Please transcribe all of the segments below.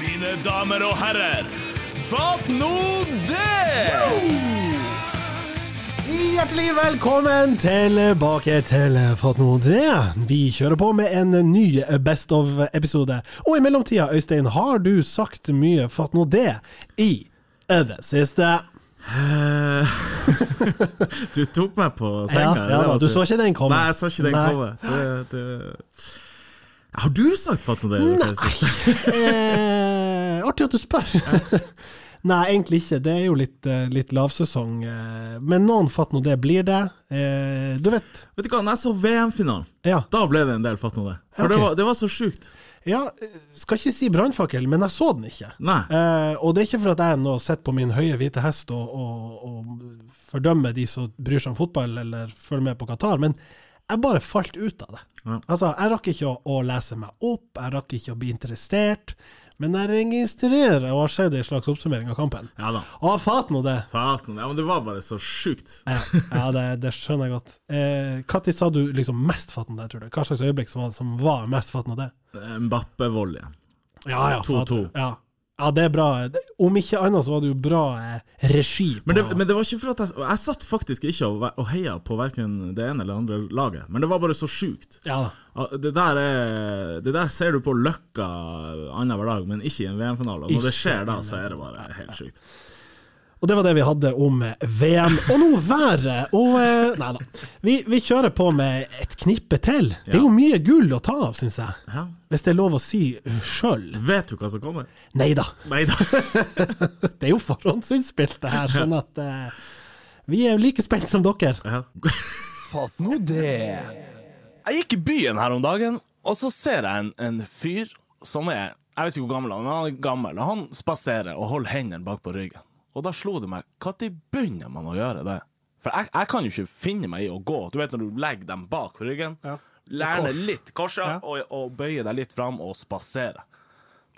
mine damer og herrer. Fatt nå det! Hjertelig velkommen tilbake til Fatt nå det. Vi kjører på med en ny Best of-episode. Og i mellomtida, Øystein, har du sagt mye Fatt nå det i det siste? Eh, Du tok meg på Ja, senga. ja det da, var du synd. så ikke den komme. Nei, jeg så ikke den Nei. komme. Det, det... Har du sagt fatt nå det? Nei. Eh, artig at du spør. Nei, egentlig ikke. Det er jo litt, eh, litt lavsesong. eh, Men noen fatt nå det blir det. Eh, Du vet. Vet du hva, når jeg så VM-finalen, Ja. da ble det en del fatt nå det. For Ok. det, var, det var så sjukt. ja eh, skal ikke si brannfakkel, men jeg så den ikke. Nei. Eh, og det er ikke for at jeg nå sitter på min høye hvite hest og, og, og fordømmer de som bryr seg om fotball eller følger med på Qatar, men jeg bare falt ut av det. Ja. Altså, jeg rakk ikke å, å lese meg opp, jeg rakk ikke å bli interessert, men jeg registrerer og har sett en slags oppsummering av kampen. Ja da. Å, fatt nå det! Fatt nå det. Ja, men det var bare så sjukt. Ja, ja det, det skjønner jeg godt. Eh, Når sa du liksom mest fatt nå det, tror du? Hva slags øyeblikk som var, som var mest fatt nå det? Mbappe-volleyen. Ja, ja. 2-2. fader. Ja. ja, det er bra. Det- Om ikke annet så var det jo bra eh, regi. På, Men det, men det var ikke for at jeg og Jeg satt faktisk ikke og, og heia på verken det ene eller det andre laget, men det var bare så sjukt. Ja da. Ja, Det der, er, det der ser du på Løkka annenhver dag, men ikke i en VM-finale. Og Ikke når det skjer i da, en så er det bare helt sjukt. Og det var det vi hadde om eh, VM. Og nå været! Og eh, Nei da. Vi, vi kjører på med et knippe til. Det er jo mye gull å ta av, syns jeg. Ja. Hvis det er lov å si sjøl. Vet du hva som kommer? Nei da. Nei da. Det er jo forhåndsinnspilt, det her. Sånn at eh, vi er jo like spent som dere. Ja. Fatt nå det. Jeg gikk i byen her om dagen, og så ser jeg en, en fyr som er Jeg vet ikke hvor gammel han er, men han er gammel. Og han spaserer og holder hendene bak på ryggen. Og da slo det meg, når begynner man å gjøre det? For jeg, jeg kan jo ikke finne meg i å gå. Du vet når du legger dem bak på ryggen. Ja. Lærne Kors. litt korsa, Ja. og, og bøyer deg litt fram og spaserer.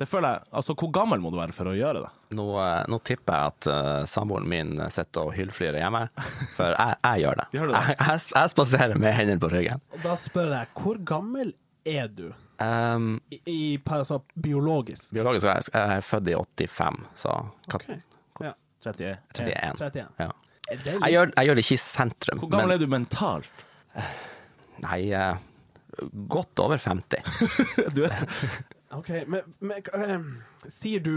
Det føler jeg, altså Hvor gammel må du være for å gjøre det? Nå, eh, nå tipper jeg at eh, samboeren min sitter og hyllflyr hjemme, for jeg, jeg gjør det. Gjør du det? Jeg, jeg, jeg spaserer med hendene på ryggen. Og da spør jeg, hvor gammel er du? Ehm, I, altså, biologisk? biologisk er jeg, jeg er født i 85, så kat- 31. 31. 31. Ja. Jeg, gjør, jeg gjør det ikke i sentrum, Hvor gammel men er du mentalt? nei, eh, godt over 50. Du er Ok, men, men eh, sier du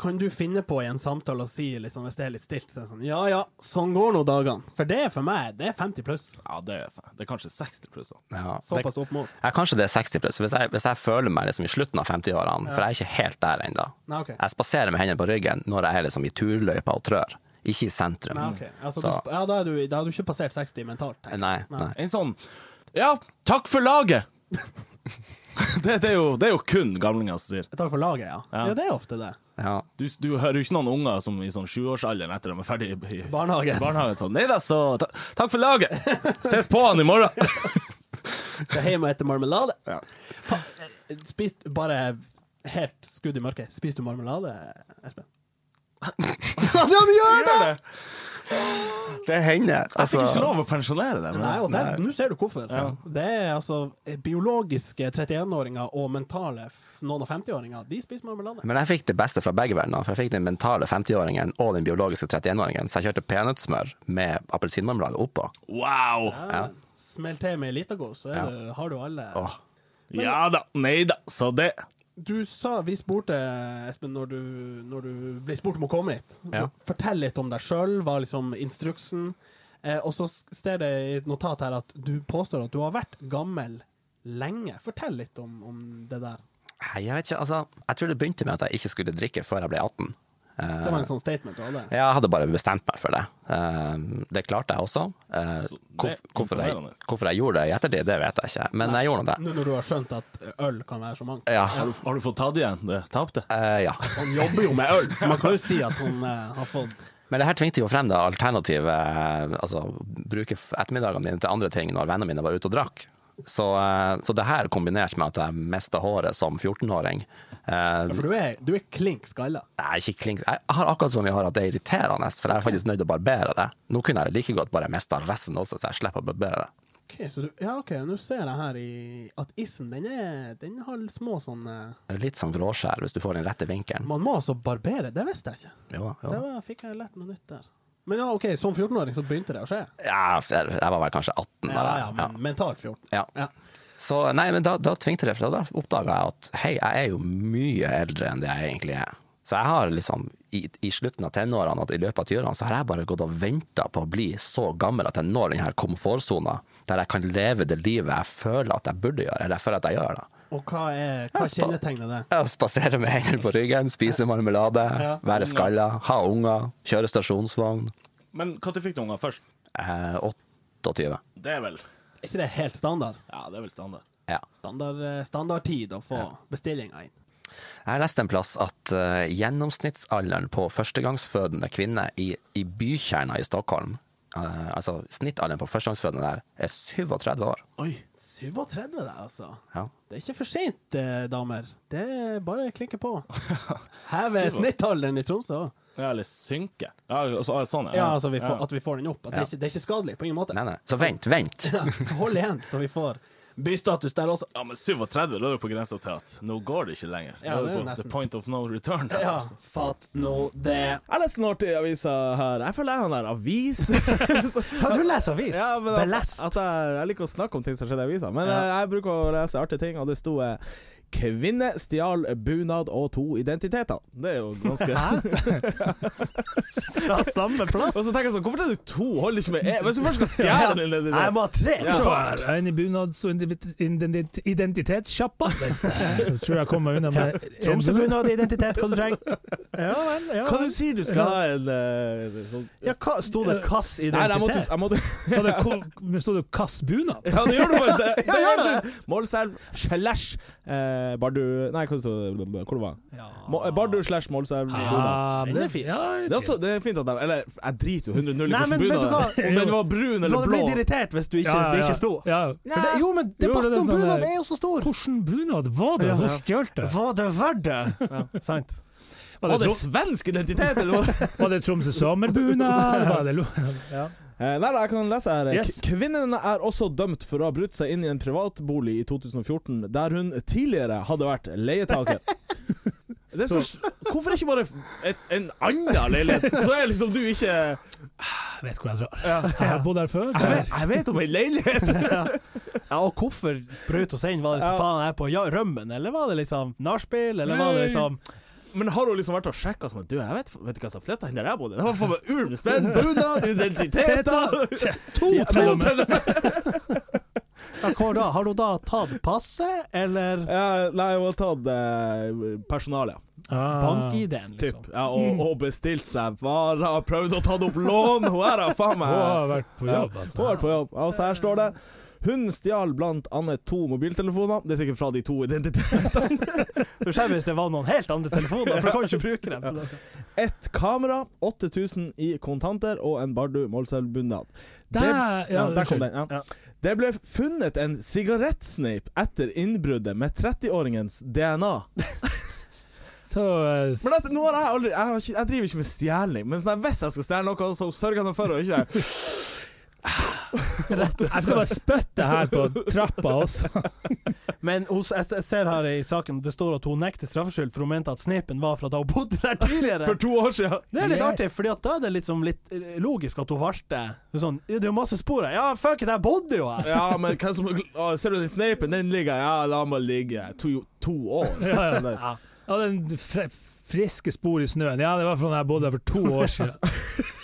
Kan du finne på i en samtale å si, liksom, hvis det er litt stilt, så er det sånn Ja ja, sånn går nå dagene. For det er for meg, det er 50 pluss. Ja, det er, fa- det er kanskje 60 pluss. da. Ja, det, Såpass opp mot. jeg, kanskje det er 60 pluss. Hvis jeg, hvis jeg føler meg liksom i slutten av 50-årene, for jeg er ikke helt der ennå. Nei, ok. Jeg spaserer med hendene på ryggen når jeg er liksom i turløypa og trør, ikke i sentrum. Nei, ok. Altså, du, Så- sp- ja, da er du, da er du ikke passert 60 mentalt. tenker jeg. Nei, nei. En sånn Ja, takk for laget! det, det, er jo, det er jo kun gamlinger som sier. Takk for laget, ja. ja. Ja. det er ofte det. Ja. Du, du hører jo ikke noen unger som i sånn sjuårsalderen etter de er ferdig i i Barnehagen. barnehagen sånn Nei da, så ta, takk for laget! Ses på han i morgen! Skal hjem og ete marmelade. Pa, eh, spis bare helt skudd i mørket. Spiser du marmelade, Espen? ja, han gjør det! Altså- Det hender. altså. Jeg fikk ikke lov å pensjonere dem. Nei, og der- nå ser du hvorfor. Det er altså eh, biologiske 31-åringer og mentale f- noen og 50-åringer. De spiser marmelade. Men jeg fikk det beste fra begge verdener. For jeg fikk den mentale 50-åringen og den biologiske 31-åringen. Så jeg kjørte peanøttsmør med appelsinmarmelade oppå. Wow! Ja. Smell til med ei lita god, så er Ja. du, har du alle Åh. Ja da, nei da, så det Du sa vi spurte, Espen, når du, når du ble spurt om å komme hit. Ja. Fortell litt om deg sjøl, hva er liksom instruksen? Eh, og så står det i et notat her at du påstår at du har vært gammel lenge. Fortell litt om, om det der. Nei, Jeg vet ikke, altså. Jeg tror det begynte med at jeg ikke skulle drikke før jeg ble 18. Eh, Det var en sånn statement du hadde. Jeg hadde bare bestemt meg for det. Eh, Det klarte jeg også. Eh, Så det hvorf- er Hvorfor jeg, imponerende. hvorfor jeg gjorde det i ettertid, det vet jeg ikke, men jeg gjorde nå det. Nå når du har skjønt at øl kan være så mangt. Ja. Har du, har du fått tatt igjen det tapte? Eh, ja. Han jobber jo med øl, så man kan jo si at hun eh, har fått Men det her tvingte jo frem det alternativet, eh, altså bruke f- ettermiddagene mine til andre ting når vennene mine var ute og drakk. Så, eh, så det her kombinert med at jeg mista håret som 14-åring eh, For du er, du er klink skalla. Nei, ikke klink. Jeg har akkurat som vi har at det er irriterende, for jeg er faktisk nødt til å barbere det. Nå kunne jeg like godt bare mista resten også, så jeg slipper å barbere det. Ok, så du, ja, ok, nå ser jeg her i, at issen, den, er, den har små sånne Litt sånn gråskjær hvis du får den rette vinkelen. Man må altså barbere, det visste jeg ikke. Jo, Det jo. var, fikk jeg lært noe nytt der. Men ja, ok, som 14-åring så begynte det å skje. Ja, jeg jeg var vel kanskje 18 da. Ja, ja, Ja. men mentalt 14. Ja. Ja. Så nei, men da, da tvingte det, for da oppdaga jeg at hei, jeg er jo mye eldre enn det jeg egentlig er. Så jeg har liksom i, i slutten av tenårene og i løpet av 20-årene så har jeg bare gått og venta på å bli så gammel at jeg når denne komfortsona der jeg kan leve det livet jeg føler at jeg burde gjøre, eller jeg føler at jeg gjør det. Og hva, er, hva Jeg spa- kjennetegner det? Ja, Spasere med hendene på ryggen, spise marmelade, Ja. være skalla, ha unger, kjøre stasjonsvogn. Men når fikk du unger først? Eh, 28. Det er vel Er ikke det helt standard? Ja, det er vel standard. Ja. Standard, eh, standardtid å få bestillinga inn. Jeg leste en plass at eh, gjennomsnittsalderen på førstegangsfødende kvinner i, i bykjerna i Stockholm, eh, altså snittalderen på førstegangsfødende der, er 37 år. Oi. 37 der, altså. Ja. Det er ikke for seint, eh, damer. Det er bare å klikke på. Heve Syv år. snittalderen i Tromsø òg. Ja, eller synke. Ja, altså, ja, sånn, ja. Ja, altså vi får, Ja. at vi får den opp. At det, er ikke, det er ikke skadelig på ingen måte. Nei, nei. Så vent, vent! Hold igjen, så vi får bystatus der også. Ja, men 37, da er du på grensa til at nå går det ikke lenger. Ja, Da er det er du jo på nesten. the point of no return. Ja, Altså, fatt nå det. Jeg leste en artig avisa her. Jeg føler jeg er han der avis. Har du lest avis? Ja, men at, at jeg, jeg liker å snakke om ting som skjedde i avisa, men eh, jeg bruker å lese artige ting, og det sto eh, 'Kvinne stjal bunad og to identiteter'. Det er jo ganske Fra samme plass? Og så tenker jeg sånn, hvorfor er du to? Holder ikke med én? Hvis du først skal stjele den identiteten må ha tre! Ja. Se her, jeg er inne i bunads- og identi- identi- identitetssjappa. Vent, Jeg tror jeg kommer unna med en bunad. Tromsøbunad, identitet, hva du trenger. Ja vel, ja Hva du sier du skal ha en eh, sånn Ja, hva, sto det Kass Nei, jeg måtte, jeg måtte Så det ko- men står det 'Kass bunad'? Ja, det gjør du faktisk det. det, Ja, gjør det. Målselv slash eh, Bardu Nei, hva sto det? Hvor det var Mo- eh, Bardu slash Målselv. bunad. Ah, men Den er det, fin. ja, det Det er er, også, det er fint at de Eller, jeg driter jo 100 null i Nei, hvordan men vet du bunaden er. hva? Om den var brun Du eller hadde blå. blitt irritert hvis du ikke, Ja, ja, det ja. ikke sto. Ja. For det, jo, men Jo, debatten det er om sånn bunad der- er jo så stor! Hvordan bunad var det Ja. hun stjal? det? Var det verdt det? Sant. Var Var det, det Trom- svensk identitet, eller hva? var det Tromsø sommerbunad? Var det lo Eh, Nei, da, jeg kan lese her. Yes. K- Kvinnen er også dømt for å ha brutt seg inn i en privatbolig i 2014, der hun tidligere hadde vært leietaker. Det er så, hvorfor ikke bare et, en annen leilighet? Så er liksom du ikke Jeg Jeg vet hvor jeg drar. Jeg har bodd her før. vet, jeg vet om ei leilighet! Ja, og hvorfor brøt hun seg inn? Var det Ja. så faen jeg er på ja, rømmen, eller var det liksom nachspiel, eller var det liksom Men har hun liksom vært og sjekka sånn at Du, jeg vet, vet ikke hva som flytta inn der jeg bodde. Det var faen meg ulm, spenn, bunad, identiteter To Ja, til og men- med! ja, hvor da? Har hun da tatt passet, eller ja, Nei, hun har tatt eh, personalet, ja. Ah. bank-ID-en, Typ. liksom? Ja, og, og bestilt seg varer, prøvd å ta opp lån. Hun her har faen Hun meg har vært på jobb, Ja, altså. Hun har vært på jobb. Altså, her står det hun stjal blant annet to mobiltelefoner. Det er sikkert fra de to identitetene. Du ser hvis det var noen helt andre telefoner, for du kan jo ikke bruke dem. Et kamera, 8000 i kontanter og en Bardu Målselv-bunad. Der, ja, Ja, der kom unnskyld. den. Ja. Ja. Det ble funnet en sigarettsneip etter innbruddet med 30-åringens DNA. Så eh, s- Men dette, nå har jeg aldri Jeg, har ikke, jeg driver ikke med stjeling, men sånn, hvis jeg skal stjele noe, så sørger jeg for å ikke jeg skal bare spytte her på trappa også. Men hos, jeg jeg ser her i saken det står at hun nekter straffskyld, for hun mente at snepen var fra da hun bodde der tidligere. For to år siden. Det er litt Yes. artig, fordi at da er det liksom litt eh, logisk at hun valgte det er sånn, ja, Det er jo masse spor her. Ja, fuck it, jeg bodde jo her! Ja, men hvem som å, Ser du den sneipen? Den ligger Ja, la meg ligge. To, to år. sånn. Ja, ja. Nice. Ja, den fre friske spor i snøen. Ja, det var fra da jeg bodde her for to år siden.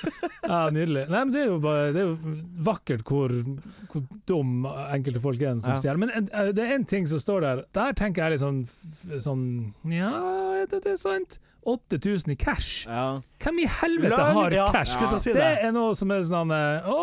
Ja, Nydelig. Nei, men Det er jo, bare, det er jo vakkert hvor, hvor dum enkelte folk er som Ja. stjeler. Men eh, det er én ting som står der. Der tenker jeg litt sånn, f- sånn Ja, er det, det er sant. 8000 i cash. Ja. Hvem i helvete har ja, cash? Skulle til å si Det det. er noe som er sånn eh, Å,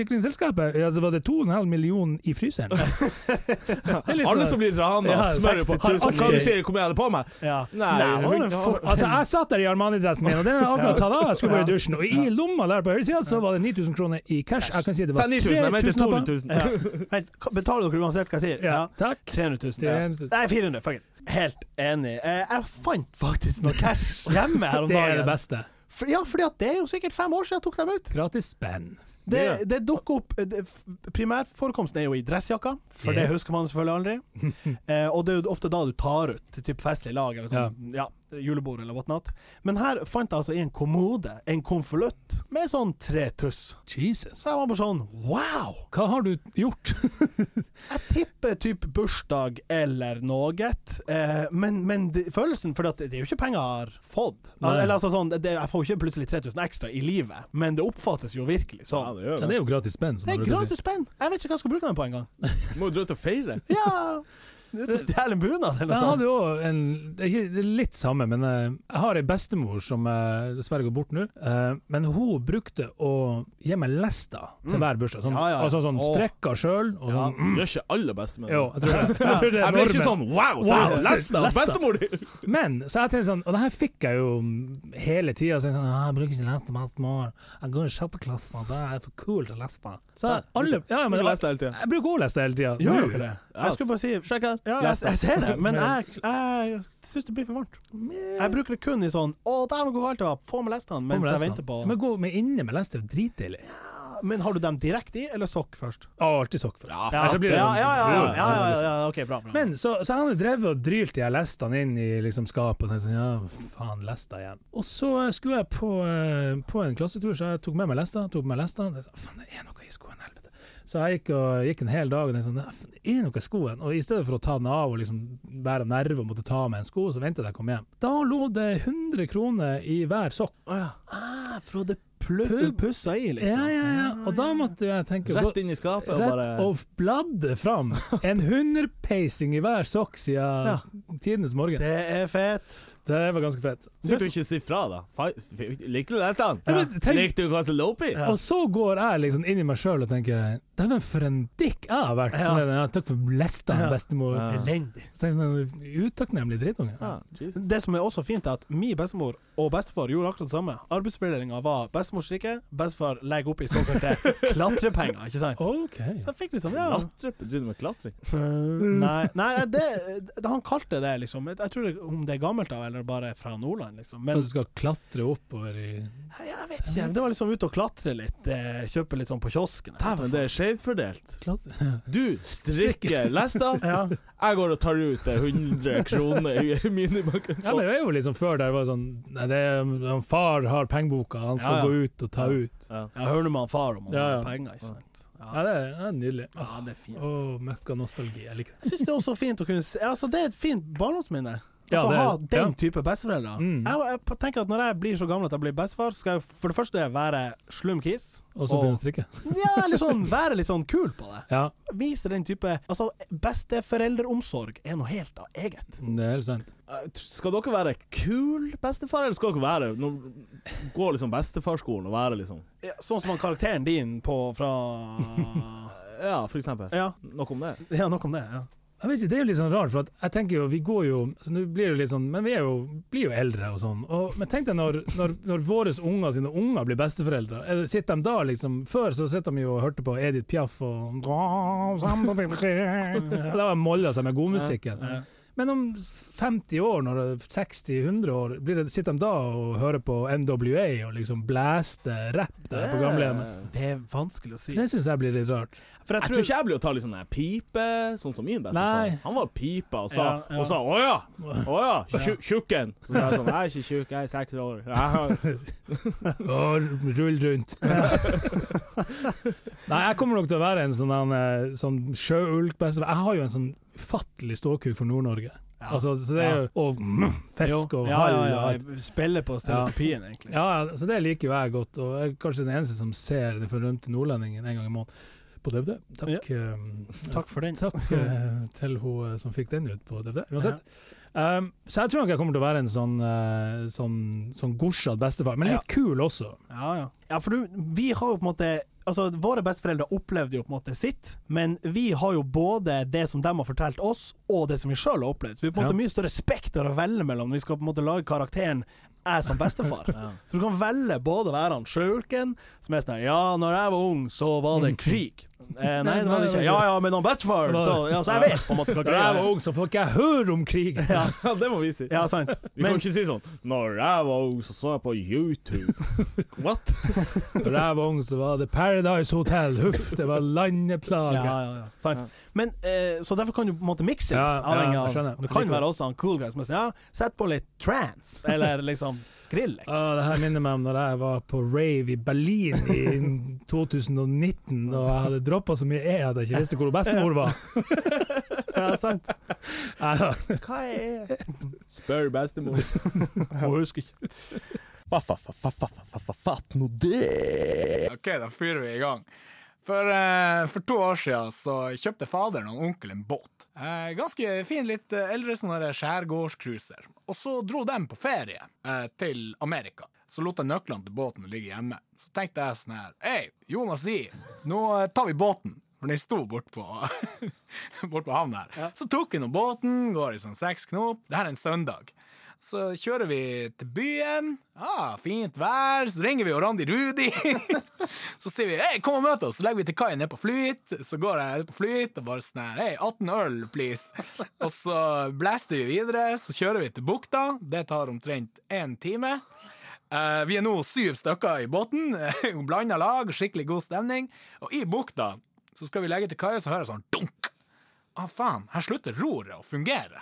forsikringsselskapet? Ja, så var det 2,5 millioner i fryseren? Det er litt Alle sånn- som blir rana, Ja, smører på. 60 000 Hva du sier hvor mye jeg hadde på meg? Ja. Nei, hun var det hun- for- Altså, jeg satt der i Armani-dressen min, og den hadde jeg akkurat tatt av. Jeg skulle bare i dusjen. Og i lomma der på høyre sida så var det 9000 kroner i cash. Jeg kan si det Sa var 9000, jeg mente 3000 lapper. 2000. Ja. Vent, k- betaler dere uansett hva jeg sier? Ja, Ja. takk. 300 000. Ja. 300 000. Nei, 400 fuck it. Helt enig. Eh, Jeg fant faktisk noe cash hjemme her om Det er det dagen. beste. For, ja, fordi at det er jo sikkert fem år siden jeg tok dem ut. Gratis spenn. Det, Ja. det dukker opp det, f- Primærforekomsten er jo i dressjakka, for det Yes. husker man selvfølgelig aldri. Eh, og det er jo ofte da du tar ut til typ festlig lag eller sånn, ja. julebord eller whatnot. Men her fant jeg altså i en kommode en konvolutt med sånn tre tuss. Jesus. Så jeg var bare sånn wow! Hva har du gjort? Jeg tipper typ bursdag eller noe, eh, men, men det, følelsen For det er jo ikke penger jeg har fått. Al- Nei. Eller altså sånn, det, jeg får jo ikke plutselig 3000 ekstra i livet, men det oppfattes jo virkelig Ja, sånn. det gjør Ja, det. det er jo gratis spenn. som Det er man bruker å si. gratis spenn! Jeg vet ikke hva jeg skal bruke den på engang. Må jo dra ut og feire. Ja, du er ute og stjeler en bunad Men eller Jeg noe hadde sånt. jo en det er ikke det er litt samme, men eh, jeg har ei bestemor som eh, dessverre går bort nå. eh, Men hun brukte å gi meg lester til hver bursdag. Sånn, Mm. Ja, ja, ja. Altså sånn Åh. strekka sjøl og sånn. Gjør ikke alle bestemenn Jo, jeg tror det. Jeg tror det Jeg er blir ikke normen. sånn wow, Wow. seriøst, lesta hos Lesta. bestemor di! Men så jeg tenkte sånn, og det her fikk jeg jo hele tida. Så jeg, sånn, «Ah, jeg bruker ikke lester med alt år. Jeg går i sjette klasse, det er for kult å leste. Så jeg, alle, ja, men, Bruker lester hele tiden. jeg bruker også leste hele tida. Gjør du det? Jeg skulle bare si Sjekk her. ja, jeg, jeg ser det, men jeg, jeg syns det blir for varmt. Jeg bruker det kun i sånn 'Å, dæven, hvor kaldt det var', få med lestene mens jeg venter på Men gå med inne med lester er jo dritdeilig. Jeg Men har du dem direkte i, eller sokk først? har alltid sokk først. Ja, Ellers så blir det ja, sånn- ja, ja, ja, ja, ja, ja, ja, ok, bra. bra. Men så, så han hadde drevet og drylt de her lestene inn i liksom skapet. Og tenkte sånn, ja, faen, lester igjen. Og så eh, skulle jeg på, eh, på en klassetur, så jeg tok med meg lester. Tok med meg lester og tenkte sånn, faen, det er noe i skoen, helvete. Så jeg gikk, og, gikk en hel dag og tenkte sånn, «Nei, faen, det er noe i skoen. Og i stedet for å ta den av og liksom være nerve og måtte ta av meg en sko, så ventet jeg kom hjem. Da lå det 100 kroner i hver sokk. Ah, fra det plu- Pub- pussa i, liksom. Ja, ja, ja. Og da måtte jeg tenke gå- Rett inn i skapet og bare Rett og bladde fram en hundrepeising i hver sokk siden Ja. tidenes morgen. Det er fett. Det var ganske fett. Så du ikke sier fra, da. Fa- f- Likte du lestene? Ja, men tenk- Likte du Castelopi? Og så går jeg liksom inn i meg sjøl og tenker Dæven, for en dick jeg har vært! Sånn, er det, ja, takk for lesta, Ja. bestemor. Ja. Elendig. Så tenker jeg sånn, Utakknemlig drittunge. Ja, Jesus. Det som er også fint, er at min bestemor og bestefar gjorde akkurat det samme. Arbeidsfordelinga var bestemor strikker, bestefar legger oppi såkalte klatrepenger, ikke sant? OK. Så jeg fikk liksom ja. Klatre? Driver du med klatring? Nei, nei det, det, han kalte det liksom Jeg tror det, om det er gammelt av, eller bare fra Nordland, liksom. Så Men du skal klatre oppover i jeg vet ikke. Det var liksom ute og klatre litt. eh, Kjøpe litt sånn på kiosken. Dæven, det er skjevt fordelt. klatre. Du strikker lester, Ja. jeg går og tar ut eh, 100 kroner i minibanken. Ja, men det var jo liksom før der det var sånn Nei, det er, han far har pengeboka, han skal Ja, ja. gå ut og ta Ja. ut. Jeg hører med han far om han Ja, har ja. penger, ikke sant. Ja, det er, det er nydelig. Åh, Ja, det er fint. åh, møkka nostalgi. Jeg liker det. Jeg syns det er også fint å kunne se Altså, det er et fint barndomsminne. Ja, Altså, det- å ha ja. den type besteforeldre. Mm. Jeg, jeg tenker at når jeg blir så gammel at jeg blir bestefar, så skal jeg for det første være slum kiss. Og så begynner å strikke. Ja, eller sånn, være litt sånn kul på det. Ja, Vise den type Altså, besteforeldreomsorg er noe helt av eget. det er helt sant. Eh, t- Skal dere være kul bestefar, eller skal dere være nå, Gå liksom bestefarskolen og være liksom Ja, Sånn som han karakteren din på fra Ja, for eksempel. Ja, Nok om det. ja nok om det. Ja. Jeg vet ikke, Det er jo litt sånn rart, for at jeg tenker jo, vi går jo så nå blir det jo litt sånn, Men vi er jo, blir jo eldre og sånn. Og, men tenk deg når, når, når våre unger sine unger blir besteforeldre. Er det- Sitter de da liksom Før så sitter de jo og hørte på Edith Piaf og Da var molla seg med godmusikken. Men om 50 år, når det- 60-100 år, blir det, sitter de da og hører på NWA og liksom blæster rapp der på gamlehjemmet? Det er vanskelig å si. Det syns jeg blir litt rart. For Jeg tror ikke jeg blir å ta litt sånn der pipe, sånn som min Nei. bestefar. Han var pipa og sa Ja, ja. Og sa 'Å ja, å ja, tju- tjukken'. Så jeg er sånn 'Jeg er ikke tjukk, jeg er seks år'. Ja. Ja, rull rundt. Nei, jeg kommer nok til å være en sånn, han, eh, sånn sjøulk-bestefar. Jeg har jo en sånn ufattelig ståkuk for Nord-Norge. Altså, så det er jo Og mm, fisk og ja, hai ja, og ja, alt. Spille på stereotypien, egentlig. Ja, ja, så det liker jo jeg godt, og jeg er kanskje den eneste som ser Den fordømte nordlendingen en gang i måneden på DVD. Takk, eh, Takk for den. Takk eh, til hun eh, som fikk den ut på DVD. Uansett. Um, så jeg tror nok jeg kommer til å være en sånn, eh, sånn, sånn gorsete bestefar, men litt kul også. Ja, ja. ja for du, vi har jo på en måte Altså, Våre besteforeldre opplevde jo på en måte sitt, men vi har jo både det som de har fortalt oss, og det som vi sjøl har opplevd. Så vi har på en måte Ja. mye større spekter å velge mellom når vi skal på en måte lage karakteren jeg som bestefar. Så du kan velge både å være han sjøulken, som er sånn her, Ja, når jeg var ung, så var det krig. Eh, nei, det var det ikke. Ja ja, men han bestefar, så, ja, så jeg vet på en måte hva Da jeg greia var er. ung, så får ikke jeg høre om krigen! Ja, det må vi si. Ja, sant. Vi kan ikke si sånn 'Når jeg var ung, så så jeg på YouTube'. What? Da jeg var ung, så var det Paradise Hotel. Huff, det var Ja, landeplager. ja, ja. Sant. Men, eh, så derfor kan du på en måte mikse Ja, litt, avhengig ja, jeg av skjønner. Du kan jo være også en cool guy som er sånn Ja, sett på litt trance, eller liksom Skrillex. Ah, det her minner meg om når jeg var på rave i Berlin i 2019, og jeg hadde droppa så mye E at jeg ikke visste hvor bestemor var. Ja, sant. Nei, da. Hva er Spør bestemor. Jeg husker ikke. Fatt nå det! Ok, da fyrer vi i gang. For, eh, for to år siden så kjøpte faderen og onkel en båt. Eh, ganske fin, litt eh, eldre sånn der skjærgårdscruiser. Og så dro de på ferie eh, til Amerika. Så lot jeg nøklene til båten ligge hjemme. Så tenkte jeg sånn her Hei, Jonas Lie, nå eh, tar vi båten. For den sto bort på, bort på havna her. Så tok vi nå båten, går i sånn seks knop. Det her er en søndag. Så kjører vi til byen. Ah, fint vær. Så ringer vi jo Randi Rudi. så sier vi hei, kom og møt oss. Så legger vi til kai ned på Flyt. Så går jeg ned på Flyt og bare sånn her hei, 18 øl, please. og så blaster vi videre. Så kjører vi til bukta. Det tar omtrent én time. Eh, vi er nå syv stykker i båten. Blanda lag, skikkelig god stemning. Og i bukta så skal vi legge til kai, så hører jeg sånn dunk. Ah, faen, her slutter roret å fungere.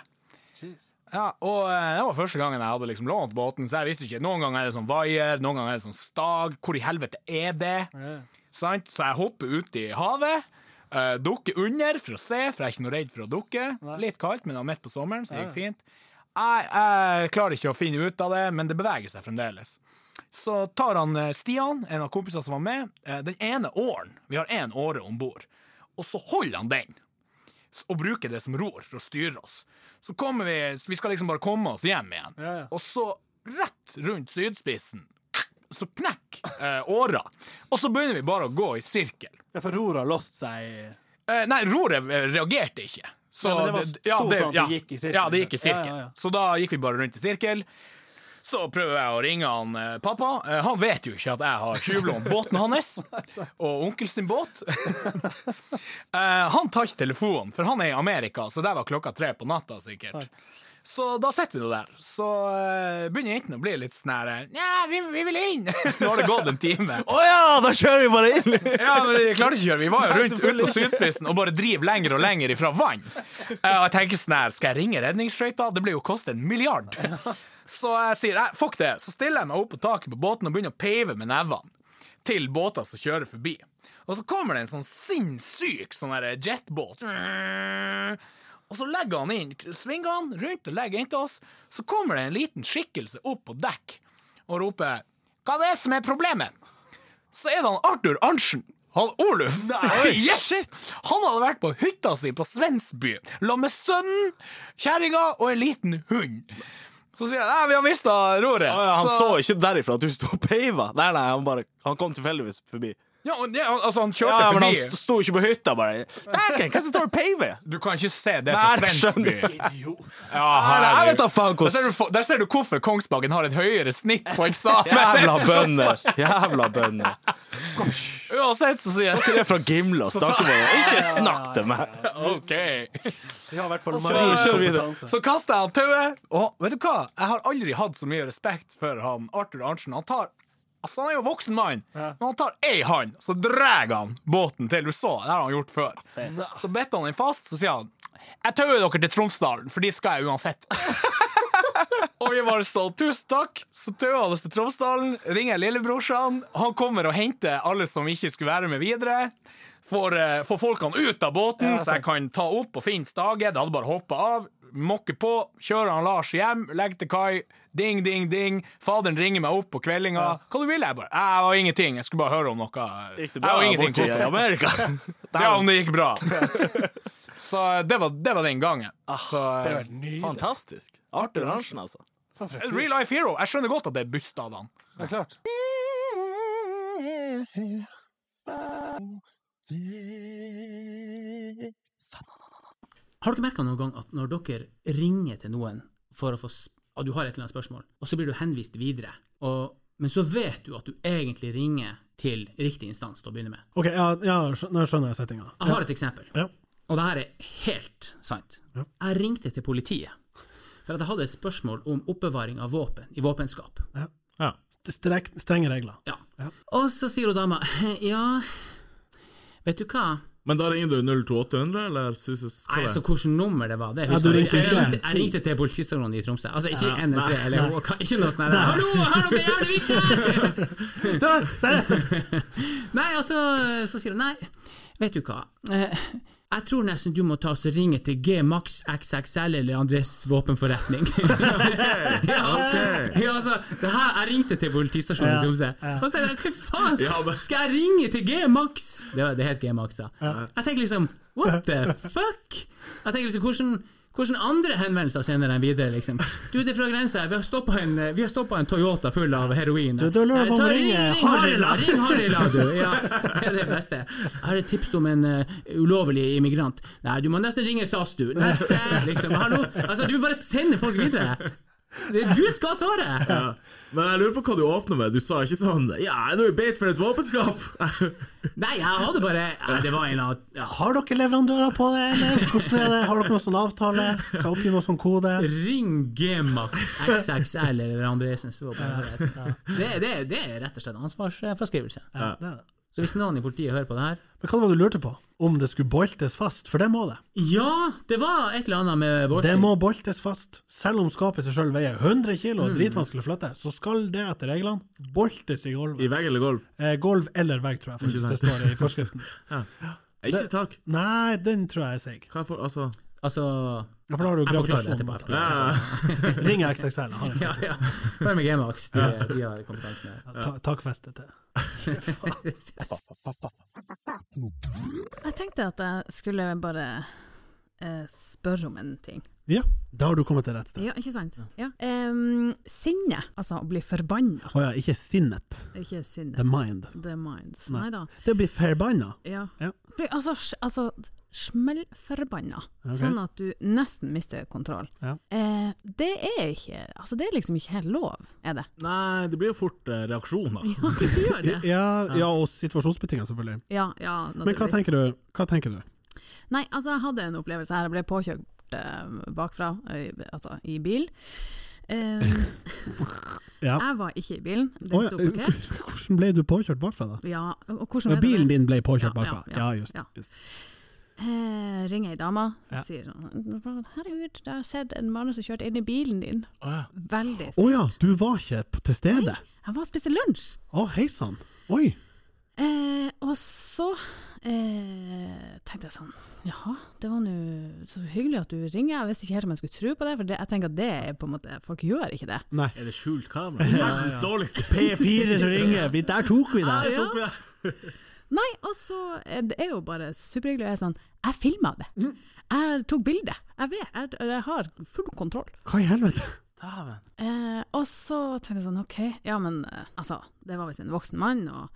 Ja, og eh, det var første gangen jeg hadde liksom lånt båten, så jeg visste ikke. Noen ganger er det sånn vaier, noen ganger er det sånn stag. Hvor i helvete er det? Sant? Så jeg hopper ut i havet, eh, dukker under for å se, for jeg er ikke noe redd for å dukke. Litt kaldt, men det var midt på sommeren, så det gikk fint. Jeg, jeg klarer ikke å finne ut av det, men det beveger seg fremdeles. Så tar han eh, Stian, en av kompisene som var med, eh, den ene åren. Vi har én åre om bord. Og så holder han den og bruker det som ror for å styre oss. Så kommer vi Vi skal liksom bare komme oss hjem igjen. Og så, rett rundt sydspissen, så knekk eh, åra. Og så begynner vi bare å gå i sirkel. Ja, for roret har låst seg i- Eh, nei, roret eh, reagerte ikke. Så Ja, men det var sto sånn at det ja. gikk i sirkel, Ja, det gikk i liksom. Ja, sirkel. ja, ja. Så da gikk vi bare rundt i sirkel. Så prøver jeg å ringe han eh, pappa. Eh, han vet jo ikke at jeg har tjuvlånt båten hans og onkel sin båt. Eh, han tar ikke telefonen, for han er i Amerika, så der var klokka tre på natta sikkert. Så da sitter vi nå der. Så eh, begynner jentene å bli litt sånn her eh, Nja, vi, vi vil inn! Nå har det gått en time. Å ja, da kjører vi bare inn! Ja, men jeg klarte ikke å kjøre. Vi var jo rundt ut på sydspissen og bare driver lenger og lenger ifra vann. Eh, Og jeg tenker sånn her, skal jeg ringe redningsskøyta? Det blir jo koste en milliard. Så jeg sier nei, fuck det. Så stiller jeg meg opp på taket på båten og begynner å peive med nevene til båter som kjører forbi. Og så kommer det en sånn sinnssyk sånn der jetbåt. Og så legger han inn, svinger han rundt og legger inn til oss. Så kommer det en liten skikkelse opp på dekk og roper 'Hva det er som er problemet?' så er det han Arthur Arntzen. Han Oluf. yes! Han hadde vært på hytta si på Svensby la med sønnen, kjerringa og en liten hund. Så sier han nei, vi har mista roret. Å ja, han så ikke derifra at du sto og peiva. Nei, nei, han bare Han kom tilfeldigvis forbi. ja, og det- altså, han kjørte Ja, men han forbi. st- sto ikke på hytta, bare. Dæken, hvem som står og peiver? Du kan ikke se det Nei, fra det Svensby. skjønner Ja, Nei, nei, jeg vet da herregud. der, faen ser du, hvordan for- der ser du hvorfor Kongsbakken har et høyere snitt på eksamen. Jævla bønder. Jævla bønder. Uansett så sier jeg Dere er fra Gimle og snakker med meg. Ikke snakk til meg. OK. Vi har i hvert fall Marie marin kjører videre. kompetanse. Så kaster jeg han tauet, og vet du hva? Jeg har aldri hatt så mye respekt for han Arthur Arntzen. Han tar Altså, han er jo voksen mann, men han tar ei hånd, så drar han båten til USA. Det har han gjort før. Så bitter han den fast, så sier han Jeg tauer dere til Tromsdalen, for dit skal jeg uansett. og vi bare sa tusen takk. Så taua han oss til Tromsdalen, ringer lillebrorsan. Han kommer og henter alle som ikke skulle være med videre. Får, eh, får folkene ut av båten, så jeg kan ta opp og finne staget. Det hadde bare hoppa av. Mokke på, kjører han Lars hjem, legger til kai. Ding, ding, ding. Faderen ringer meg opp på kveldinga. Hva du vil jeg bare? Jeg var ingenting. Jeg skulle bare høre om noe. Gikk det Jeg bra var ingenting borti i Amerika? Ja, om det gikk bra. Så eh, det var, det var den gangen. Så, Det har vært nydelig. Fantastisk. Arthur Arntzen, altså. Real Life Hero. Jeg skjønner godt at det er bust av han. Det er klart. Har dere merka noen gang at når dere ringer til noen for å få s- og du har et eller annet spørsmål, og så blir du henvist videre. Og, men så vet du at du egentlig ringer til riktig instans til å begynne med. OK, ja, ja skjø- nå skjønner jeg settinga. Jeg har et eksempel, Ja. og det her er helt sant. Ja. Jeg ringte til politiet for at jeg hadde et spørsmål om oppbevaring av våpen i våpenskap. Strek, strenge regler. Ja. Ja. Og så sier hun dama Ja, vet du hva? Men da ringer du 02800, eller synes, hva Nei, det så er? hvilket nummer det var, det Ja, du husker jeg ikke. Jeg ringte ikke. ringte, jeg ringte til politistasjonen i Tromsø. Altså ikke 113 eller HK, ikke noe sånt. her. Hallo, jeg har noe jævlig viktig! Du, seriøst! Nei, altså, så sier hun nei, vet du hva. Eh, Jeg tror nesten du må ta oss og ringe til G-Max XXL eller Andres våpenforretning. ja, ja, altså, det her, jeg ringte til politistasjonen i Tromsø. Og så tenkte jeg, hva faen, Ja, men- skal jeg ringe til G-Max? Det, var- det het G-Max da. Jeg tenker liksom, what the fuck? Jeg tenker liksom, hvordan... Hvordan andre henvendelser sender de videre, liksom? Du, det er fra grensa, her. vi har stoppa en, vi har stoppet en Toyota full av heroin. Du, da lurer jeg på om Ta- du ring- ringer ring Harila. Harila. Ring Harila, du! Ja, det er det beste. Jeg har et tips om en eh, ulovlig immigrant. Nei, du må nesten ringe SAS, du. Neste! Liksom. Hallo! Altså, du bare sender folk videre! Det er du som skal svare! Men jeg lurer på hva du åpner med. Du sa ikke sånn Ja, jeg er nå i beit for et våpenskap! Nei, jeg hadde bare Nei, Det var en eller annen ja. Har dere leverandører på det, eller? Hvordan er det? Har dere noen sånn avtale? Kan jeg oppgi noe sånn kode? Ring Gmax XXL eller Andresens våpen. Det, det, det er rett og slett ansvarsfraskrivelse. Ja, det er det. Så hvis noen i politiet hører på det her Men hva var det du lurte på? Om det skulle boltes fast? For det må det. Ja, det var et eller annet med Det Borchgrevink. må boltes fast. Selv om skapet i seg sjøl veier 100 kilo og er dritvanskelig å flytte, så skal det etter reglene boltes i I gulvet. vegg eller gulv? Eh, gulv eller vegg, tror jeg faktisk det står i forskriften. Ikke tak. Nei, den tror jeg er seig. Hva for, altså Altså Ja, for da har du Jeg forklarer det gravitasjon etterpå. bak. Jeg ja, forklarer det. Ring XXL. Har en Ja, ja. Bare med Gmax, de, de har kompetansen her. ta takfeste til. Jeg tenkte at jeg skulle bare eh, spørre om en ting. Ja, da har du kommet til rett sted. Ja, ikke sant? Ja. Em, sinne, altså å bli forbanna, Å ja, ikke sinnet. ikke sinne. The mind. The mind. Nei. Nei da. Det blir forbanna. Ja. Ja. Bli- Altså, sj- altså smellforbanna, Ok. sånn at du nesten mister kontroll. Ja. Eh, det er ikke Altså, det er liksom ikke helt lov, er det? Nei, det blir jo fort eh, reaksjoner. Ja, du gjør det. Ja, ja, og situasjonsbetinga, selvfølgelig. Ja, ja, Men hva tenker du? Hva tenker du? Nei, altså jeg hadde en opplevelse her. Jeg ble påkjørt eh, bakfra, eh, altså i bil. Eh, Ja. Jeg var ikke i bilen, Å den ja, sto parkert. Hvordan ble du påkjørt bakfra, da? Ja, og Ja, hvordan er det bilen med- din ble påkjørt Ja, ja, bakfra. Ja, ja, just. ja. just. Eh, ringer ei dame, Ja. sier sånn Herregud, jeg har sett en mann som kjørte inn i bilen din. Veldig Å sterkt. ja, du var ikke p- til stede? Jeg var og spiste lunsj. Å, hei sann. Oi. Eh, og så eh, tenkte jeg sånn Jaha, det var nå så hyggelig at du ringer. Jeg visste ikke helt om jeg skulle tro på det, for det, jeg tenker at det er på en måte Folk gjør ikke det. Er det skjult kamera? Verdens dårligste P4 som ringer, vi, der tok vi Ja, deg! ja. ja. Nei, altså, eh, det er jo bare superhyggelig. og Jeg er sånn, jeg filma det. Mm. Jeg tok bilde. Jeg vet, jeg, jeg har full kontroll. Hva i helvete? Eh, og så tenkte jeg sånn, ok, ja men eh, altså, det var visst en voksen mann, og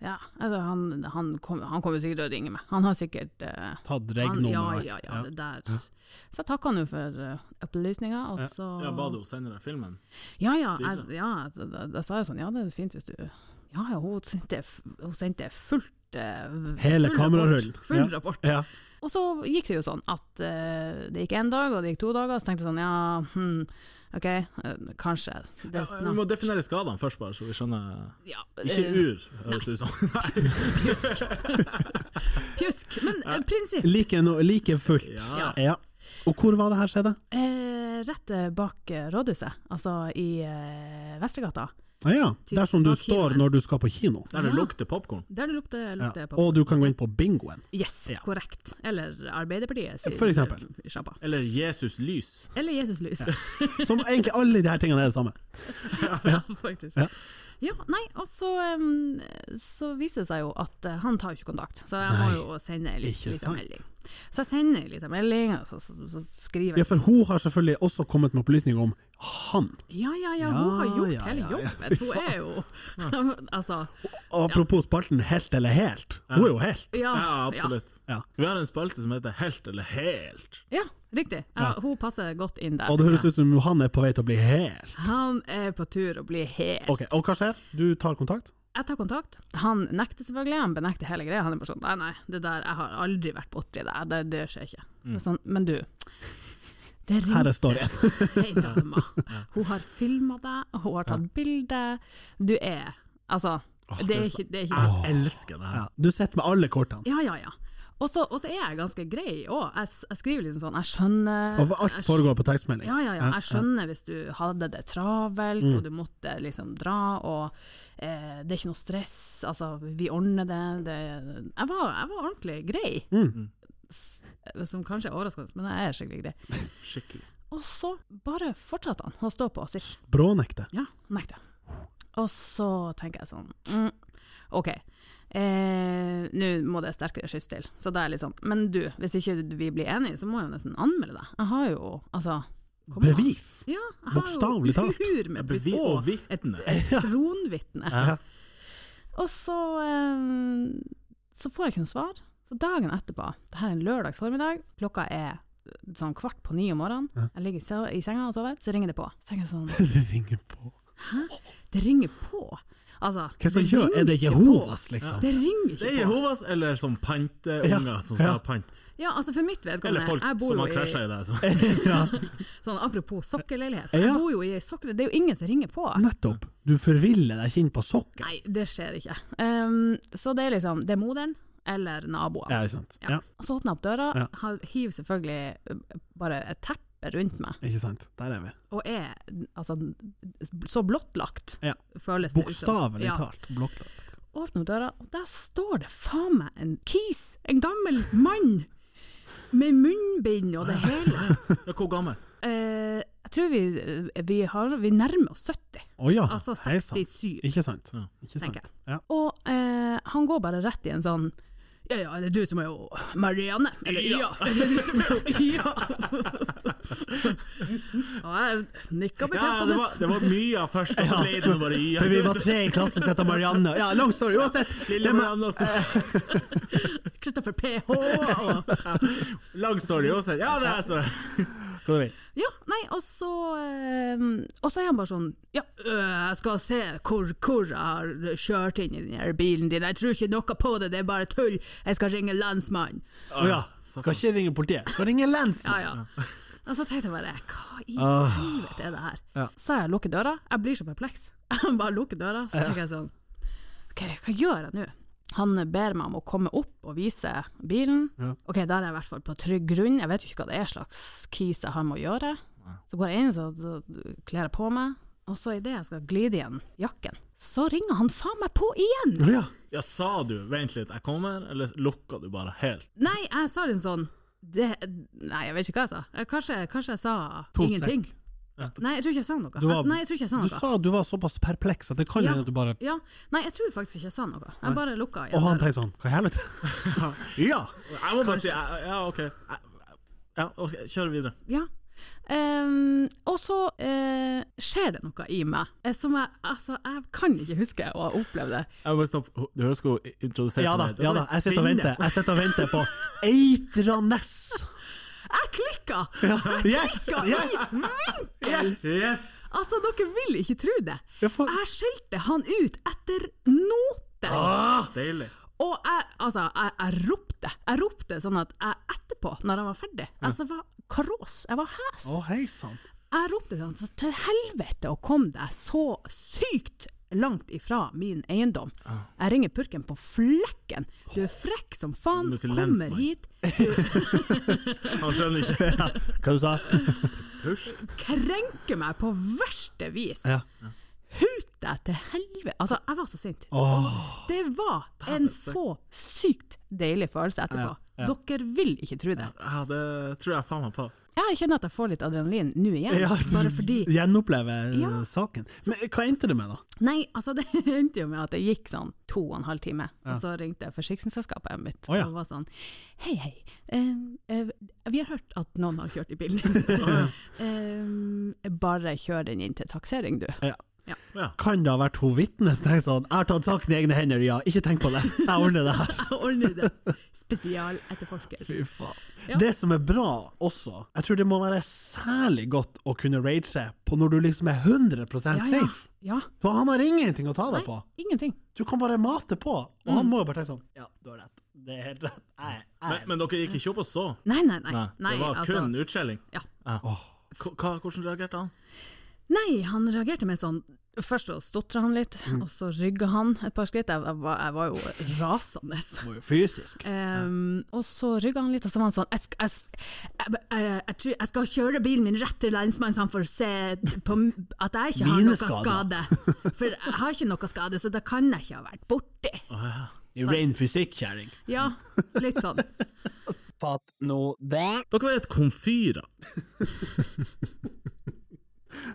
ja, altså, han, han, kom, han kommer sikkert til å ringe meg. Han har sikkert eh, Tatt han, regnummer ja, og alt. ja, ja, det der. Så jeg takka nå for eh, opplysninga, og så Ja, ba du henne sende deg filmen? Ja, ja, jeg, ja altså, da, da sa jeg sånn, ja det er fint hvis du Ja, ja, hun sendte, hun sendte fullt eh, Hele full kamerarullen. rapport, Full Ja. rapport. Ja. Og så gikk det jo sånn at eh, det gikk én dag, og det gikk to dager, og så tenkte jeg sånn, ja, hm, ok, eh, kanskje Ja, det er vi må snart. definere skadene først, bare, så vi skjønner. Ja, Ikke eh, ur, høres det ut som. Pjusk, men eh, prinsipp. Like, no, like fullt. Ja. Ja. Og hvor var det her skjedde? Eh, rett eh, bak eh, rådhuset, altså i eh, Vestregata, Ah, ja. Typ Der som du bak står kinoen. når du skal på kino. Der det lukter popkorn. der det lukter, Ja. lukter på. Og du kan gå inn på bingoen. Yes, Ja. korrekt. Eller Arbeiderpartiet sin For eksempel. eh, sjappa. Eller Jesus lys. Eller Jesus lys, Som egentlig alle de her tingene er det samme. ja, faktisk. Ja. Ja. nei, og så, em, så viser det seg jo at eh, han tar jo ikke kontakt, så jeg må Nei, jo sende en ikke liten sant. melding. Så jeg sender en liten melding, og så, så, så skriver Ja, jeg for hun har selvfølgelig også kommet med opplysninger om han. Ja, ja, ja, hun har Ja, gjort ja, hele ja, ja. jobben. Hun er jo Altså, Apropos spalten helt eller helt. Hun er jo helt. ja. Ja, absolutt. Ja. Vi har en spalte som heter Helt eller helt. Ja, riktig. Ja, hun passer godt inn der. Og det høres ut som han er på vei til å bli helt. Han er på tur å bli helt Ok, Og hva skjer? Du tar kontakt? Jeg tar kontakt. Han nekter selvfølgelig, han benekter hele greia. Han er bare sånn nei, nei, det der, jeg har aldri vært borti det, det, det skjer ikke. Så jeg er sånn, men du, det Mm. Her ringte er storyen. ei dame. Hun har filma deg, og hun har tatt bilde. Du er Altså, det er ikke, det er ikke Jeg elsker det her. Ja. Du sitter med alle kortene. Ja, ja, ja. Og så og så er jeg ganske grei òg. Jeg, s- jeg skriver liksom sånn, jeg skjønner Og alt jeg skj- foregår på tekstmelding. Ja, ja, ja. Jeg skjønner hvis du hadde det travelt, og du måtte liksom dra, og eh, det er ikke noe stress, altså, vi ordner det. det jeg, var, jeg var ordentlig grei. S- Som kanskje er overraskende, men jeg er skikkelig grei. Og så bare fortsatte han å stå på og si Brånekte. ja, nekter. Og så tenker jeg sånn mm, OK, eh, nå må det sterkere skyss til. Så da er jeg litt sånn Men du, hvis ikke vi blir enige, så må jeg jo nesten anmelde deg. Jeg har jo altså kom an. Bevis! Ja, jeg Bokstavelig har jo talt. ur med bevis. Bevis- og og vitne. Et, et kronvitne. Og så eh, så får jeg ikke noe svar. Så dagen etterpå, det her er en lørdags formiddag, klokka er eh, sånn kvart på ni om morgenen, jeg ligger i se- i senga og sover, så ringer det på. Så tenker jeg sånn Det ringer på. det ringer på. Altså, Hva som gjør? ringer Er det ikke Jehovas, på. liksom? Det ringer Det ikke er på. Jehovas eller som eh, panteunger som skal ha pant. Ja, altså For mitt Eller vedkommende folk jeg bor som jo har krasja i, i deg. Så. sånn Apropos sokkelleilighet. Ja. Jeg bor jo i ei sokkel, det er jo ingen som ringer på. Nettopp. Du forviller deg kinn på sokken. Nei, det skjer ikke. Ehm, så det er liksom Det er moderen eller naboen. Ja, ikke sant. Ja, Og Så åpner jeg opp døra, Ja. har- hiver selvfølgelig eh, bare et teppe rundt meg, ikke sant. Der er vi. og er altså så blottlagt, Ja. føles det ut som. Bokstavelig Ja. talt. Blokklagt. åpner opp døra, og der står det faen meg en kis, en gammel mann, med munnbind og det hele. Ja, hvor gammel? Eh, jeg tror vi, vi, har, vi nærmer oss 70, Å ja, altså hei sann. 67. Ikke sant. Ja. Ikke Tenker jeg. sant. Ja. Og eh, han går bare rett i en sånn ja, ja, er det du som er jo Marianne? Eller ja, er det du som er jo Ja! Og jeg Ja, nikka det bekreftende. var, det var mye av første og så ble det bare ja. For vi var tre i klassen sett av Marianne. Ja, lang story uansett! Lille Det med- Marianne også. Kristoffer PH og Lang story også. Ja, det er så. Hva du vil. Ja, nei, og så ehm, Og så er han bare sånn Ja, øh, jeg skal se hvor, hvor jeg har kjørt inn i den her bilen din. Jeg tror ikke noe på det, det er bare tull. Jeg skal ringe landsmannen. Å Ah, ja. Skal ikke ringe politiet. Skal ringe Ja, lensmannen. ja. Og så tenkte jeg bare Hva i Ah. helvete er det her? Ja. Så jeg lukker døra. Jeg blir så perpleks. Jeg bare lukker døra, så tenker jeg sånn OK, hva gjør jeg nå? Han ber meg om å komme opp og vise bilen. Ja. Ok, da er jeg i hvert fall på trygg grunn. Jeg vet jo ikke hva det er slags kis jeg har med å gjøre. Så går jeg inn, så så kler jeg på meg, og så idet jeg skal glide igjen jakken, så ringer han faen meg på igjen! Å ja. Ja, sa du 'vent litt, jeg kommer', eller lukka du bare helt? Nei, jeg sa en sånn det, Nei, jeg vet ikke hva jeg sa. Eh, Kanskje, kanskje jeg sa To sek. ingenting. Nei, jeg tror ikke jeg sa noe. Du var- nei, jeg tror ikke jeg Du sa noe. sa du var såpass perpleks at det kan Ja. hende at du bare Ja. Nei, jeg tror faktisk ikke jeg sa noe. Jeg bare lukka igjen. Og han døra. tenker sånn Hva i helvete? Ja! Jeg må bare si ja, ja, OK. Jeg- Ja, ok, Kjør videre. Ja. Ehm, og så eh, skjer det noe i meg eh, som jeg Altså, jeg kan ikke huske å ha opplevd det. Jeg må bare stoppe. Du høres hun introduserte Ja da, meg. Det ja var da. et Jeg sitter og sinne. venter. Jeg sitter og venter på Eitranes. Jeg klikka! Ja. Yes! Klikka Yes! i vinkel! Yes! Altså, dere vil ikke tro det. Ja, for- Jeg skjelte han ut etter noter. Deilig. Og jeg, altså, jeg, jeg ropte Jeg ropte sånn at jeg etterpå, når jeg var ferdig Altså, jeg var karås. Jeg var hes. Å, hei sann. Jeg ropte sånn så Til helvete å komme deg så sykt langt ifra min eiendom. Jeg ringer purken på flekken. Du er frekk som faen. Du må si Kommer lensmann. hit. Han skjønner ikke. Hva du sa Krenker meg på verste vis. Ja. Hut deg til helvete Altså, jeg var så sint. Det var en så sykt deilig følelse etterpå. Dere vil ikke tro det. Ja, det tror jeg faen meg på. Ja, jeg kjenner at jeg får litt adrenalin nå igjen, Ja. bare fordi Gjenoppleve eh, Ja. saken. Men hva endte det med, da? Nei, altså det endte jo med at det gikk sånn to og en halv time, og så ringte jeg forsikringsselskapet mitt Å, ja. og var sånn Hei, hei, eh, eh, vi har hørt at noen har kjørt i bilen. Eh, bare kjør den inn til taksering, du. Kan det ha vært hun vitne som tenkte sånn 'Jeg har tatt saken i egne hender, ja, ikke tenk på det, jeg ordner det her'. Jeg ordner det. Spesialetterforsker. Fy faen. Ja. Det som er bra også, jeg tror det må være særlig godt å kunne rage på når du liksom er 100 ja. safe. Ja, For han har ingenting å ta deg på. ingenting. Du kan bare mate på, og Mm. han må jo bare tenke sånn Ja, du har rett. Det er helt rett. Jeg, jeg. Men, men dere gikk ikke opp og så? Nei, nei, nei. nei det var altså, kun utskjelling? Ja. K- Hva, hvordan reagerte han? Nei, han reagerte med sånn Først så stotra han litt, Mm. og så rygga han et par skritt. Jeg, jeg, var, jeg var jo rasende. må jo fysisk. Ehm, og så rygga han litt, og så var han sånn Jeg, sk- jeg, s- jeg, jeg, jeg, jeg, tror jeg skal kjøre bilen min rett til lensmannen, så han får se på, m- at jeg ikke har Mine noe skade. For jeg har ikke noe skade, så da kan jeg ikke ha vært borti. Det er ren fysikkjæring. Ja, litt sånn. Fatt nå det. Dere er et komfyrer.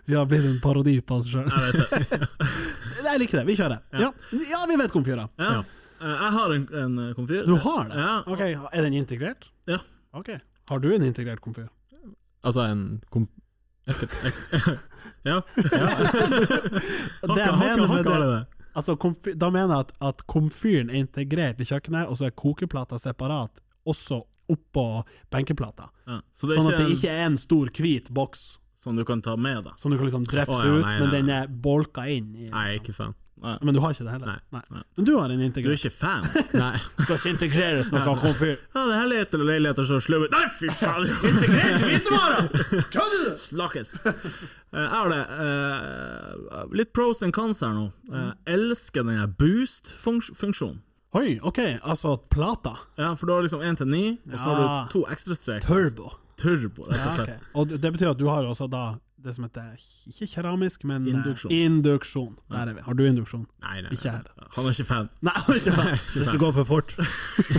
Vi har blitt en parodi på oss sjøl. Jeg liker det. Vi kjører. Ja, ja vi vet komfyra. Ja. Eh, Jeg har en, en eh, komfyr. Du har det? Ja. Ok, Er den integrert? Ja. Ok. Har du en integrert komfyr? Altså en kom... ja. Det jeg Hakka, hakka, mener med hakka det- er det. Altså, komfy- da mener jeg at, at komfyren er integrert i kjøkkenet, og så er kokeplata separat, også oppå benkeplata. Ja. Så det er Sånn at ikke det en ikke er en stor, hvit boks som du kan ta med deg? som du kan liksom drefse Å, ja, ut, nei, men nei, den nei. er bolka inn. I, liksom. Nei, jeg er ikke fan. Men du har ikke det heller? Nei, nei. Men du har en Du er integrert. ikke fan? Nei. Det skal ikke integreres noe komfyr. Ja, det er herligheter og leiligheter som slår ut Nei, fy faen! Integrert hvitevarer! Kødder du?! Snakkes. Eh, Jeg har det. eh, litt pros and cons her nå. Eh, elsker den her boost-funksjonen. Oi, OK, altså plata. Ja, for du har liksom én til ni, og så har Ja. du to ekstrastreker. Turbo. Turbo, rett og Ja, slett. ok. Og det- det betyr at du har også da det som heter ikke keramisk, men eh, Induksjon. induksjon. Der er vi. Har du induksjon? Nei, nei, Ikke nei. her. Han er ikke fan. Nei, jeg har ikke det. Syns det går for fort.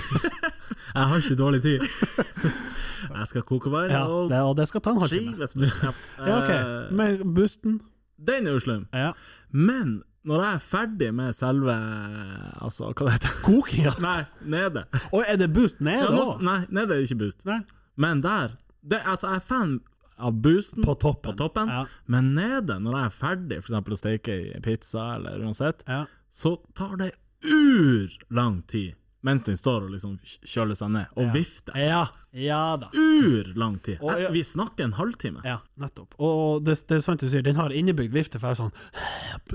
Jeg har ikke dårlig tid. Jeg skal koke varer Ja, og det, og det skal ta en halvtime. skives med det. Ja, ok. Men boosten Den er jo slum. Ja. Men når jeg er ferdig med selve Altså, hva det heter Kokinga. Nei, nede. Og er det boost ned Ja, nå, òg? nei, nede er det ikke boost. Nei. Men der det, Altså, jeg er fan av boosten På toppen. på toppen, Ja. men nede, når jeg er ferdig for eksempel å steke i pizza eller uansett, Ja. så tar det urlang tid mens den står og liksom kj- kjøler seg ned og vifter. Ja. Ja da. Urlang tid! Å, ja. Jeg, vi snakker en halvtime. Ja, nettopp. Og det, det er sant du sier, den har innebygd vifte for å sånn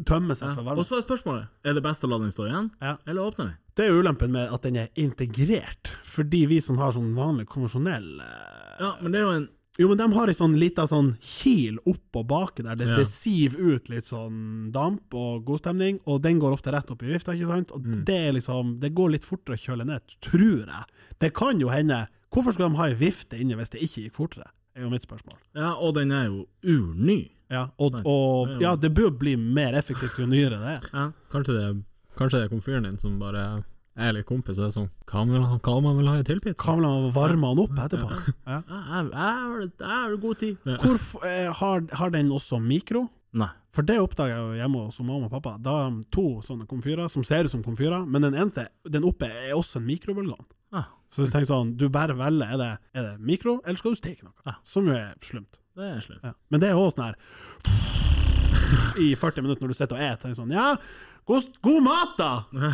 tømme seg for Og varme. så er spørsmålet Er det best å la den stå igjen, Ja. eller åpne den? Det er jo ulempen med at den er integrert, fordi vi som har sånn vanlig konvensjonell eh, Ja, men det er jo en Jo, men de har ei sånn lita sånn kil oppå baket der det, Ja. det siver ut litt sånn damp og god stemning, og den går ofte rett opp i vifta, ikke sant? Og det er liksom Det går litt fortere å kjøle ned, tror jeg. Det kan jo hende. Hvorfor skulle de ha ei vifte inne hvis det ikke gikk fortere? er jo mitt spørsmål. Ja, og den er jo urny. Ja, og, og ja, det bør bli mer effektivt jo nyere det er. Kanskje det, kanskje det er komfyren din som bare er litt kompis og er sånn Hva om man- hva om man vil ha i tilpizza? Kan man varme den opp etterpå? Ja. Jeg jeg- jeg har god tid. Hvorfor, eh, har, har den også mikro? Nei. For det oppdaga jeg jo hjemme hos mamma og pappa. Da har de to sånne komfyrer som ser ut som komfyrer, men den eneste, den oppe, er også en mikrobølgeovn. Ah. Så du tenker sånn, du bare velger, er det, er det mikro, eller skal du steke noe? Ah. Som jo er slumt. Det er slutt. Ja. Men det er også sånn her I 40 minutter når du sitter og et, tenker sånn, ja, god, god mat da!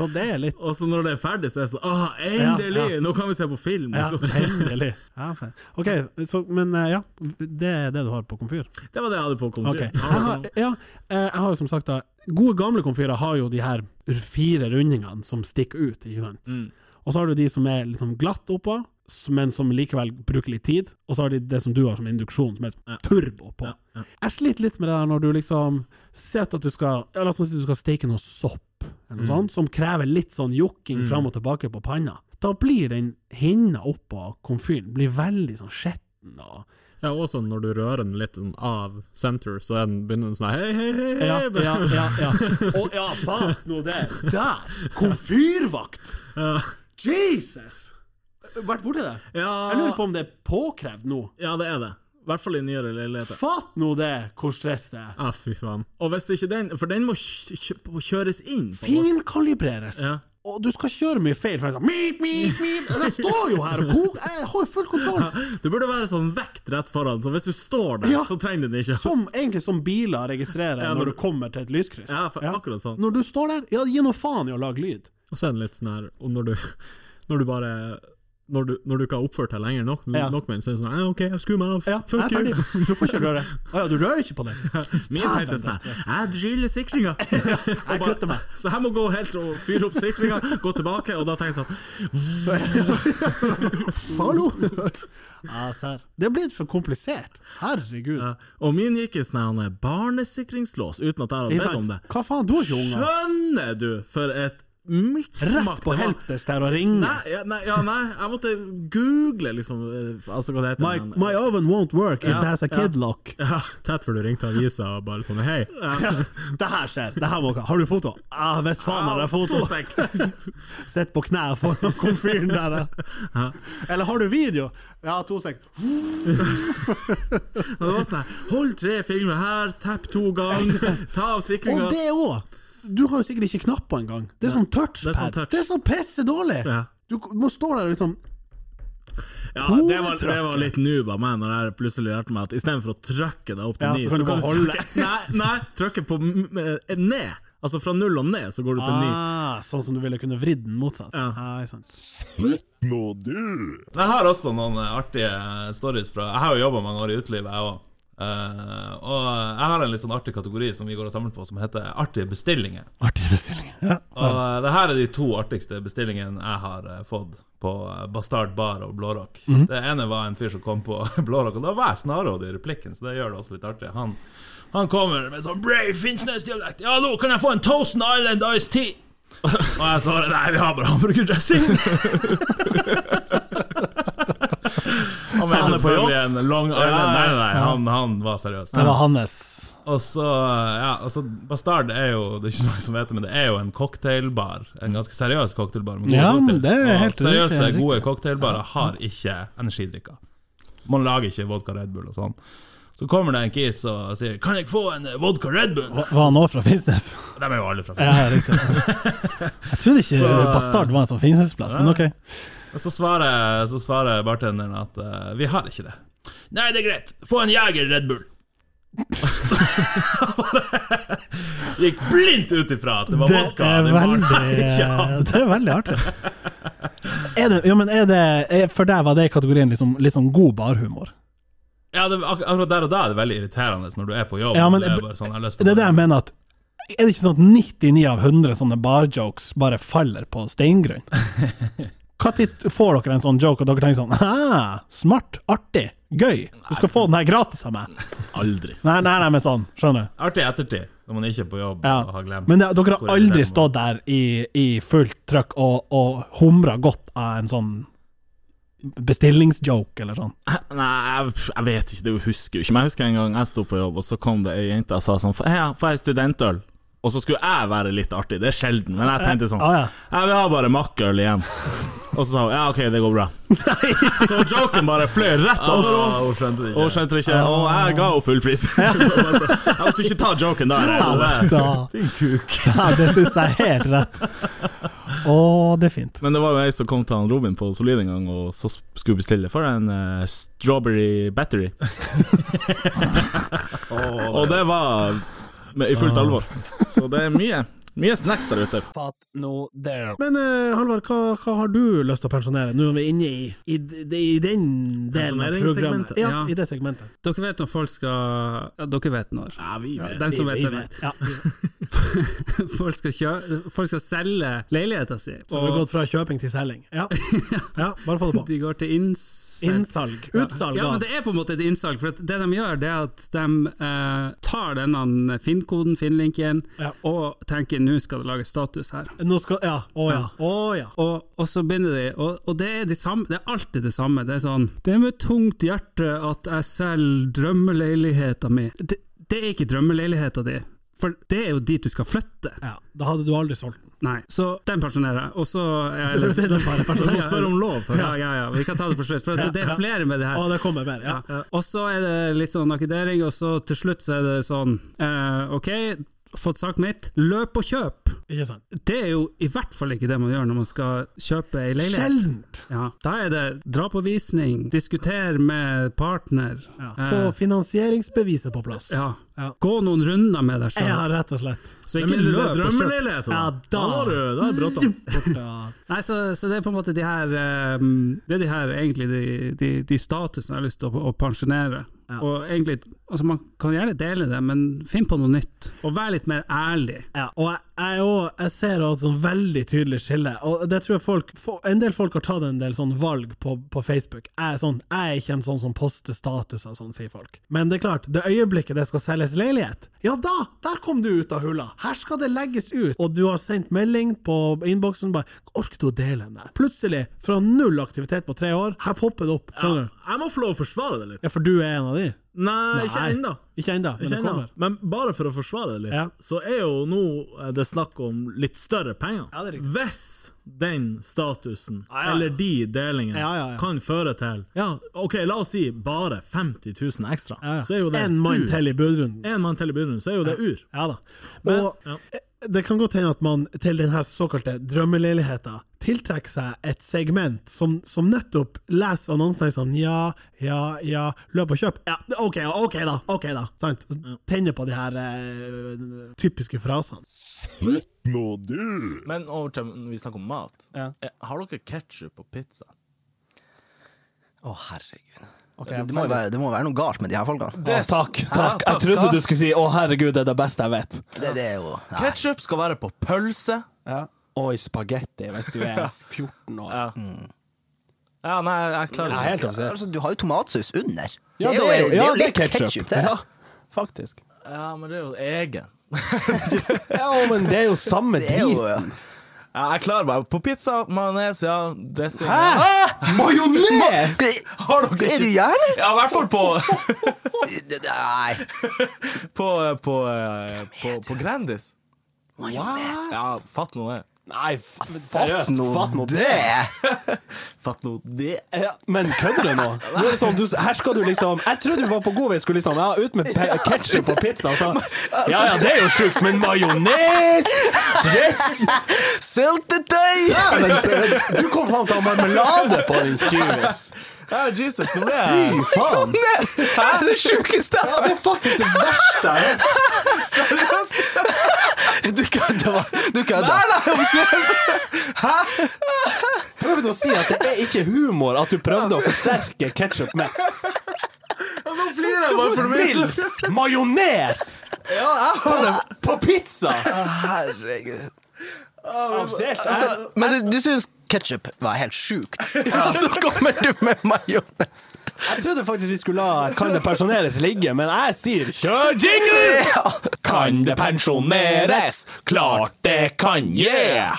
Så det er litt Og så når det er ferdig, så er det sånn ah, Endelig! Ja, ja. Nå kan vi se på film! ja, Så, endelig. Ja, faen. OK, så, men eh, ja, det er det du har på komfyr? det var det jeg hadde på Ok. konfyren. Jeg har, ja, eh, jeg har jo som sagt da Gode gamle komfyrer har jo de her fire rundingene som stikker ut, ikke sant? Mm. Og så har du de som er liksom glatt oppå, s- men som likevel bruker litt tid. Og så har de det som du har som induksjon, som er Ja. turbo på. Ja, ja. Jeg sliter litt med det her når du liksom ser at du skal ja, La oss si du skal steke noe sopp, eller noe Mm. sånt, som krever litt sånn jokking fram og tilbake på panna. Da blir den hinna oppå komfyren blir veldig sånn skitten. og Ja, også når du rører den litt sånn av center, så er den begynner den sånn her, hei, hei, hei, hei. Ja, bare- ja, ja, ja. Og ja, faen nå det. Der! Komfyrvakt! Jesus! vært borti det? Jeg lurer Ja, på om det er påkrevd nå. ja, det er det. I hvert fall i nyere leiligheter. Fatt nå det, hvor stress det er. Ah, fy faen. Og hvis ikke den For den må kj- kj- kjøres inn. på en måte. Finkalibreres. Ja. Og du skal ikke gjøre mye feil, for jeg sånn meep, meep, meep. Jeg står jo her og koker, jeg har jo full kontroll. Det burde være sånn vekt rett foran, så hvis du står der, Ja. så trenger den ikke. Som, egentlig som biler registrerer Ja, når når du kommer til et lyskryss. Ja, for akkurat sånn. Når du står der, ja, gi nå faen i å lage lyd. Og så er det litt sånn her Og når du, når du bare når du, når du ikke har oppført deg lenger nok, Ja. nok med en, så er det sånn «Eh, OK, skru meg av. Ja, jeg Fuck er you. ferdig. Du får ikke røre. Å ja, du rører ikke på det? Min Faen, tenkte det er sånn her, Jeg driller sikringa! Jeg kutter meg. Så jeg må gå helt og fyre opp sikringa, gå tilbake, og da tenker jeg sånn Hallo! Ja, serr. Det er blitt for komplisert. Herregud. ja. Og min gikk i sånn her barnesikringslås, uten at jeg hadde Ikke bedt om sant? det. Hva faen, du har ikke unger? Skjønner du for et Rett mikkmakk på helpdesk der og ringe. Nei, ja, nei, ja, nei, jeg måtte google, liksom eh, Altså hva det heter. My, men- my oven won't work, it Ja, has a kid lock. Tett før du ringte avisa og bare sånn Hei, Det her skjer. Det her må ikke. Har du foto? Ah, visst faen har Ah, jeg foto. fotosekk. Sitt på knær foran komfyren der. ja. Eller har du video? Ja, to sek. Og det var sånn her Hold tre fingre her, tepp to ganger, ta av Og sikringa. det òg! Du har jo sikkert ikke knapper engang. Det er sånn det er sånn touchpad. touch. Det er så pisse dårlig! Ja. Du må stå der og liksom Ja, det var, det var litt noob av meg når jeg plutselig lærte meg at istedenfor å trykke deg opp til Ja, ni, så kan du bare holde. trykke Nei, nei trykke på m- eh, ned. Altså fra null og ned, så går du til ni. ah, Sånn som du ville kunne vridd den motsatt. Ja. Ah, ikke sant. Jeg har også noen eh, artige stories fra Jeg har jo jobba mange år i utelivet, jeg òg. og jeg har en litt sånn artig kategori som vi går og samler på, som heter artige bestillinger. Artige bestillinger. Ja. Og eh, det her er de to artigste bestillingene jeg har eh, fått på eh, Bastard Bar og Blårock. Mhm. Det ene var en fyr som kom på Blårock, og da var jeg snarrådig i replikken, så det gjør det også litt artig. Han, han kommer med sånn brave Finnsnes-dialekt. 'Ja, nå kan jeg få en Thousand Island Ice Tea?' Og jeg svarer 'Nei, vi har bare hamburgerdressing'. Han mener på selvfølgelig Joss? en Long Island. Nei, nei, nei, han, han var seriøs. Det var hans. Og så, ja, altså Bastard er jo Det er ikke så mange som vet det, men det er jo en cocktailbar. En ganske seriøs cocktailbar. Med gode Ja, men cocktails. det er Og helt riktig, seriøse, riktig. gode cocktailbarer har ikke energidrikker. Man lager ikke vodka Red Bull og sånn. Så kommer det en kis og sier 'Kan jeg få en eh, vodka Red Bull?' Var han òg fra Finnsnes? De er jo alle fra Ja, Finland. riktig. Jeg trodde ikke Så- Bastard var en sånn Finnsnes-plass, men OK. Og så svarer, så svarer bartenderen at eh, 'Vi har ikke det'. 'Nei, det er greit. Få en Jeger Red Bull'. Gikk blindt ut ifra at det var Det vodka. er de barna ikke hadde. veldig Det er veldig artig. Er det, ja, men er det, er, for deg var det i kategorien liksom, litt sånn god barhumor. Ja, det, ak akkurat der og da er det veldig irriterende når du er på jobb. Ja, men- og det er bare sånn, jeg har lyst til å- Det er det jeg mener at Er det ikke sånn at 99 av 100 sånne barjokes bare faller på steingrunn? Når får dere en sånn joke og dere tenker sånn ah, Smart, artig, gøy. Du skal få den her gratis av meg. Aldri. Nei, nei, nei, men sånn. Skjønner du? Artig i ettertid, når man ikke er på jobb Ja. og har glemt. Men det, dere hvor har aldri irriterende stått der i, i fullt trøkk og, og humra godt av en sånn bestillingsjoke eller sånn? Nei, jeg, jeg vet ikke, du husker jo ikke. Men jeg husker en gang jeg sto på jobb, og så kom det ei jente og sa sånn «Får jeg- Får jeg studentøl? Og så skulle jeg være litt artig, det er sjelden, men jeg tenkte sånn Ah, ja. Jeg vil ha bare makkøl igjen. Og så sa hun ja, OK, det går bra. Så joken bare fløy rett over henne. Hun skjønte det Og ikke. hun skjønte det ikke, og jeg ga henne full pris. Jeg måtte ikke ta joken der. jeg. Ja, da. Ja, det syns jeg er helt rett. Å, det er fint. Men det var jo ei som kom til han Robin på Solid en gang, og så skulle bestille for en eh, strawberry battery. og det var med, i fullt Ah. alvor. Så det er mye. Mye snacks der ute. Fatt nå det. Men eh, Halvard, hva, hva har du lyst til å pensjonere, nå når vi er inne i, i, d- i den delen av programmet? Pensjoneringssegmentet. Ja, Ja. i det segmentet. Dere vet når folk skal ja, Dere vet når. Ja, vi Ja, de som vet, Vi de vet. Ja. Folk skal, kjø folk skal selge leiligheten sin, Så vi har gått fra kjøping til selging. Ja, ja bare få det på. de går til innsalg. Innsalg. Utsalg Ja, men av det er på en måte et innsalg. For at det de gjør, det er at de eh, tar denne Finn-koden, Finn-linken, Ja. og tenker nå skal det lages status her. Nå skal Ja, å ja. Å ja. Og, og så begynner de, og, og det, er de samme, det er alltid det samme. Det er sånn Det er med tungt hjerte at jeg selger drømmeleiligheta mi. Det, det er ikke drømmeleiligheta di. For det er jo dit du skal flytte. Ja, Da hadde du aldri solgt den. Nei, så den pensjonerer jeg, og så Det er den bare pensjonerer. Du må spørre om lov først. Ja, ja, ja, vi kan ta det for slutt, for det, det er flere med det her. Å, det kommer mer, ja. Ja. Og så er det litt sånn akkreditering, og så til slutt så er det sånn eh, Ok, fått sagt mitt, løp og kjøp! Ikke sant? Det er jo i hvert fall ikke det man gjør når man skal kjøpe ei leilighet. Sjeldent! Ja. Da er det dra på visning, diskuter med partner. Ja. Få Eh, finansieringsbeviset på plass. ja. Gå noen runder med deg sjøl. Ja, rett og slett. Så ikke løp og kjøp. Ja, da er Nei, så, så det er på en måte de her eh, Det er de her egentlig de, de, de statusene jeg har lyst til å, å pensjonere. Og egentlig, altså Man kan gjerne dele det, men finn på noe nytt. Og vær litt mer ærlig. Ja, og jeg, jeg, er også- jeg ser også et sånn veldig tydelig skille, og det tror jeg folk få- En del folk har tatt en del sånn valg på, på Facebook. Jeg er, sånn, jeg er ikke en sånn som poster statuser, sånn sier folk. Men det er klart, det øyeblikket det skal selges leilighet, ja da! Der kom du ut av hula! Her skal det legges ut! Og du har sendt melding på innboksen bare 'Orker du å dele den der?' Plutselig, fra null aktivitet på tre år, her popper det opp. Skjønner du? Jeg må få lov å forsvare det litt. Ja, for du er en av de? Nei, ikke ennå. Ikke ennå, men Ikke det ennå. kommer. Men bare for å forsvare det litt, Ja. så er jo nå eh, det snakk om litt større penger. Hvis den statusen, ja. eller de delingene, Ja, ja, ja. kan føre til Ja, OK, la oss si bare 50 000 ekstra, Ja, så er jo ja. det En mann ur. til i budrunden. En mann til i budrunden, så er jo det ur. Ja da. Men- og eh, ja. det kan godt hende at man til denne såkalte drømmeleiligheten tiltrekker seg et segment som, som nettopp leser annonsene sånn ja, ja, ja, løp og kjøp. Ja, OK, ja, ok da, ok da. Sant? Tenner på de her eh, typiske frasene. Men over til vi snakker om mat. Eh, Har dere ketsjup på pizza? Å, herregud. Ok, det, det, må jo være, det må jo være noe galt med de her folkene. Det- takk, Ja, takk. Jeg trodde du skulle si 'Å, herregud, det er det beste jeg vet'. Det, det er jo nei. Ketsjup skal være på pølse. Og i spagetti, hvis du er 14 år. Mm. Ja, nei, jeg klarer Nei, helt ikke. altså, du har jo tomatsaus under. Ja, jo- det er jo- ja, jo det er litt ketchup. ketchup, det. Ja, faktisk. Ja, men det er jo egen. Ja, men det er jo samme Det er jo- driten. Ja, jeg klarer meg på pizza, majones, ja. Dressing Hæ? Majones? Har dere ikke Er du gæren? Ja, i hvert fall på Nei. På, på, eh, på, på Grandis. Majones? Ja, fatt nå det. Nei, seriøst, fatt nå Fatt nå det. Ja, men kødder du nå? Nå er det sånn, du, her skal du liksom Jeg trodde du var på god vei, skulle liksom Ja, ut med pe- ketchup og pizza. Så. Ja ja, det er jo sjukt, men majones, dress Syltetøy! Ja, men så- du kom fram til å ha marmelade på din tjuvis. Ja, Jesus, nå ble Fy jeg faen! Det er det sjukeste jeg har Det er faktisk det verste jeg har Du kødder, hva? Du kødder. Hæ? Prøvde å si at det er ikke humor at du prøvde å forsterke ketsjup med. Nå flirer jeg bare for det blir så- Pils! Majones! Ja, jeg har det. På pizza! Herregud. Altså, men du, du syns ketsjup var helt sjukt, og så kommer du med majones. Jeg trodde faktisk vi skulle la Kan det pensjoneres ligge, men jeg sier kjør jingle! Kan det pensjoneres? Klart det kan, yeah!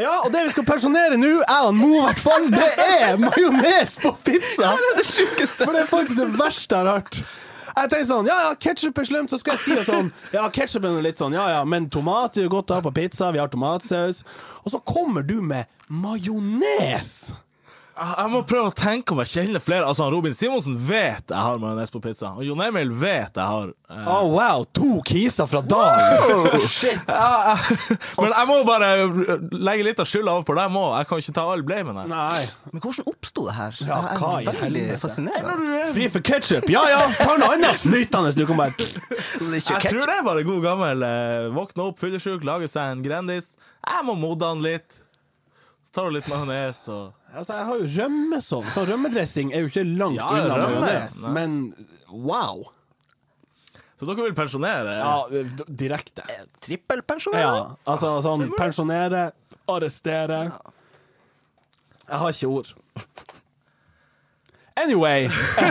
Ja, og det vi skal pensjonere nå, jeg og Mo i hvert fall, det er majones på pizza! Det er det sjukeste. For det er faktisk det verste jeg har hørt. Jeg tenkte sånn, ja ja, ketsjup er slumt, så skulle jeg si det sånn. Ja, ketsjup er noe litt sånn, ja ja, men tomat er jo godt å ha på pizza, vi har tomatsaus. Og så kommer du med majones! Jeg må prøve å tenke om jeg kjenner flere. Altså, han Robin Simonsen vet jeg har majones på pizza. Og Jon Emil vet jeg har eh, Å wow, to kiser fra dagen! Shit! Ja, ja. Men jeg må bare legge litt av skylda over på deg. Jeg, må. jeg kan ikke ta all blamen her. Men hvordan oppsto det her? Ja, Jeg er hva i veldig helvete? fascinerende. Fri for ketsjup! Ja ja, ta noe annet snytende, du kan bare Jeg tror det er bare god gammel eh, våkne opp, fyllesyk, lage seg en Grandis. Jeg må modne han litt. Så tar du litt majones og Altså, jeg har jo rømmesov, så rømmedressing er jo ikke langt Ja, unna rømme. majones, Nei. men wow. Så dere vil pensjonere? Ja, d- direkte. Trippelpensjonere? Ja, altså sånn pensjonere, arrestere Jeg har ikke ord. Anyway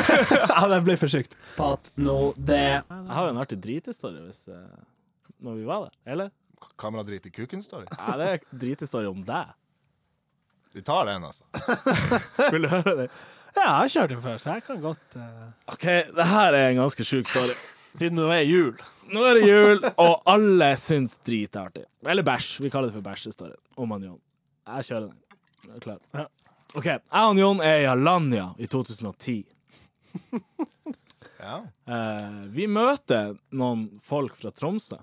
Ja, det ble for sykt. Fatt nå det. Jeg har jo en artig drithistorie hvis eh, når vi var der, eller? Kamera driter i kuken-story. Ja, det er drithistorie om deg. Vi tar den, altså. Vil du høre det? Ja, jeg har kjørt den før, så jeg kan godt eh, OK, det her er en ganske sjuk story. Siden det er jul. Nå er det jul, og alle syns drit er artig. Eller bæsj. Vi kaller det for bæsj, det står det. Om han Jon. Jeg kjører den. Jeg er klar. OK. Jeg og Jon er i Alanya i 2010. Ja. Eh, vi møter noen folk fra Tromsø.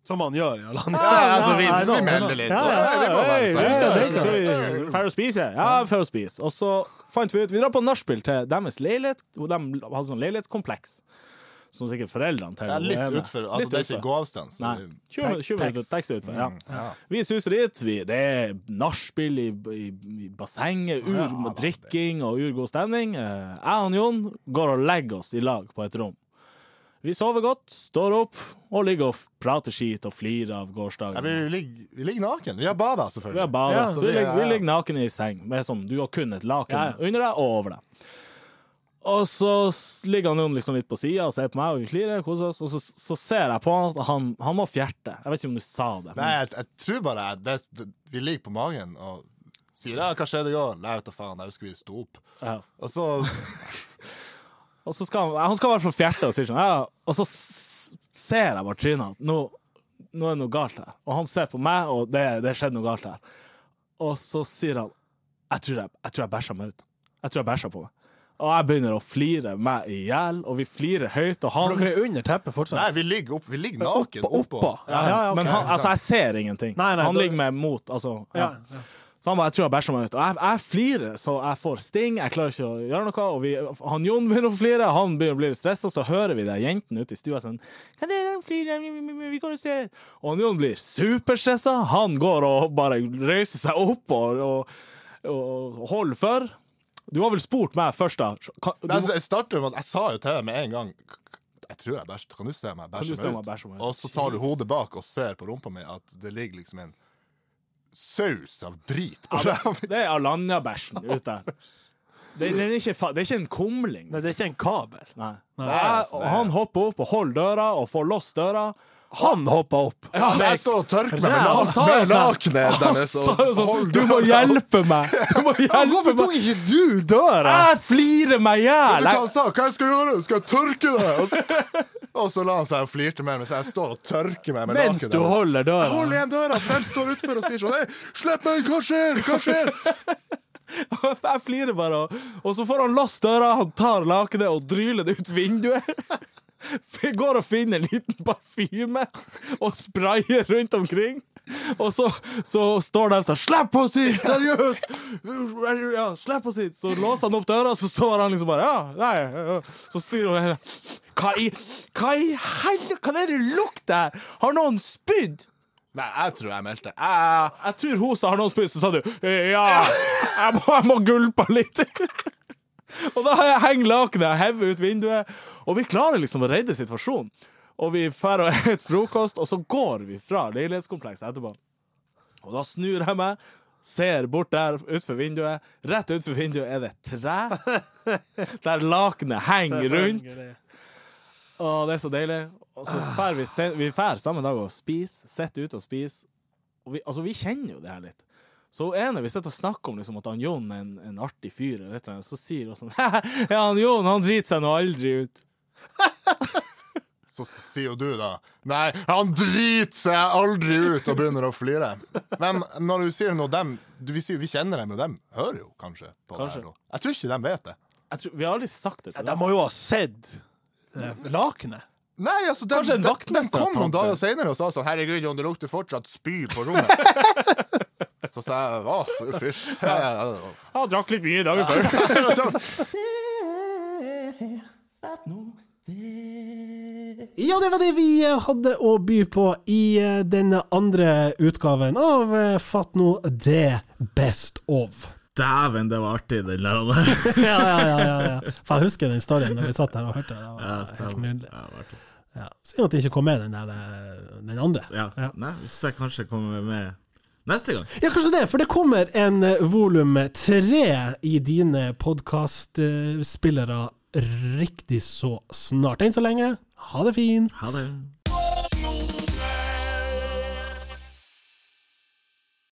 Som han gjør i Alanya. Ja, altså, vi- vi melder litt. Ja, ja, Det må være hei, sånn. vi skal- Det skal vi- Fer å spise? Ja, fer å spise. Og så fant vi ut Vi drar på nachspiel til deres leilighet. hvor De hadde sånn leilighetskompleks. Som sikkert foreldrene til Ja, litt hun ene. utfor. Altså, Litt det er ikke utfor. gåavstand, så Nei. det er 20 minutter- 20 minutter taxi. taxi utfor. Ja. Mm, ja. Vi suser dit. Vi, det er nachspiel i, i, i bassenget, ur, drikking og urgod stemning. Eh, Jeg og Jon går og legger oss i lag på et rom. Vi sover godt, står opp og ligger og f- prater skit og flirer av gårsdagen. Ja, vi, ligger, vi ligger naken. Vi har bada, selvfølgelig. Vi har badet. Ja, så vi, vi ligger, er- vi ligger nakne i seng. Med sånn, du har kun et laken Ja, ja. under deg og over deg. Og så s- ligger han jo liksom litt på sida og ser på meg, og vi klirer, koser oss. Og så, så ser jeg på han at han, han må fjerte. Jeg vet ikke om du sa det. Nei, jeg, jeg tror bare jeg- det, det, vi ligger på magen og sier ja, 'hva skjedde i går?' Nei, vet da faen, jeg husker vi sto opp. Ja. Og så Og så skal han, han skal i hvert fall fjerte og sier sånn ja. Og så s- ser jeg bare trynet hans. Nå, nå er det noe galt her. Og han ser på meg, og det, det skjedde noe galt her. Og så sier han Jeg tror jeg, jeg, tror jeg bæsja meg ut. Jeg tror jeg bæsja på meg. Og jeg begynner å flire meg i hjel, og vi flirer høyt, og han For dere er under teppet fortsatt? Nei, vi ligger, opp, vi ligger naken oppå. Ja, Men han, altså, jeg ser ingenting. Nei, nei, han da- ligger med mot, altså. Ja. Ja, Så han bare, jeg tror jeg bæsja meg ut. Og jeg, jeg flirer, så jeg får sting, jeg klarer ikke å gjøre noe. Og vi, han Jon begynner å flire, han begynner å bli litt stressa, så hører vi de jentene ute i stua sånn Hva er det de flirer? Vi- vi- vi- vi går og ser. Og han Jon blir superstressa, han går og bare røyser seg opp og, og, og holder for. Du har vel spurt meg først, da. Kan, du, Nei, altså, jeg starter med at jeg sa jo til deg med en gang Jeg tror jeg bæsjer. Kan du se meg Kan du bæsje se meg meg bæsje ut? meg ut? Og så tar du hodet bak og ser på rumpa mi at det ligger liksom en saus av drit på Ja, det- det er Alanya-bæsjen ute. Det, det, er ikke, fa- det er ikke en kumling. Nei, det er ikke en kabel. Nei. Nei, og han hopper opp og holder døra og får låst døra. Han hoppa opp! Ja, Jeg står og tørker meg med Ja, han la- sa jo med sånn- lakenet Han deres, sa og jo sånn hold Du må døra hjelpe meg! Du må hjelpe Hvorfor meg! Ah, tok ikke du døra? Jeg flirer meg i Vet du hjel! hva Jeg- han sa? Hva jeg skal gjøre? Skal jeg tørke deg? Og så, og så la han seg og flirte med meg, så jeg står og tørker meg med Mens lakenet du deres. holder døra. Jeg holder igjen døra, for den står utfor og sier sånn Hei, slipp meg, hva skjer? Hva skjer? Jeg flirer bare, og- og så får han låst døra, han tar lakenet og dryler det ut vinduet. Vi Går og finner en liten parfyme og sprayer rundt omkring. Og så, så står de sånn 'Slipp oss inn! Seriøst!' Ja, slipp oss inn! Så låser han opp døra, og så står han liksom bare ja, nei, ja, ja. Så sier hun ene, Hva i, hva i helvete? Hva er det det lukter her? Har noen spydd? Nei, jeg tror jeg meldte. Jeg tror hun sa har noen spydd, så sa du «Eh, ja, jeg må, jeg må gulpe litt. og da henger lakenet og hever ut vinduet, og vi klarer liksom å redde situasjonen. Og vi drar og spiser frokost, og så går vi fra leilighetskomplekset etterpå. Og da snur jeg meg, ser bort der utenfor vinduet. Rett utenfor vinduet er det et tre der lakenet henger rundt. Å, det er så deilig. Og så fær vi, sen- vi fær samme dag og spiser. Sitter ute og spiser. Og vi, altså, vi kjenner jo det her litt. Så hun ene, vi sitter og snakker om liksom, at han Jon er en, en artig fyr, eller et eller annet, så sier hun sånn Ja, han Jon, han driter seg nå aldri ut. Så s- sier jo du da Nei, han driter seg aldri ut og begynner å flire. Men når du sier noe dem du, Vi sier jo vi kjenner dem, og dem hører jo kanskje på det Kanskje. her nå. Jeg tror ikke de vet det. Jeg tror, vi har aldri sagt det til De dem. må jo ha sett eh, lakenet. Nei, altså, de, Kanskje en de, de vaktmester kom noen tante. dager senere og sa sånn Herregud, Jon, det lukter fortsatt spy på rommet. Så sa jeg Å, fy- fysj. Jeg drakk litt mye dagen Ja, det var det vi eh, hadde å by på i eh, denne andre utgaven av eh, Fatt nå det best of. Dæven, det var artig, den der. ja, ja, ja, ja, ja. For jeg husker den storyen da vi satt her og hørte det. Det var helt nydelig. Ja. Synd at det ikke kom med den der eh, den andre. Ja. Nei, hvis jeg kanskje kommer med neste gang. Ja, kanskje det, for det kommer en eh, volum tre i dine eh, podkastspillere riktig så snart. Enn så lenge, ha det fint. Ha det.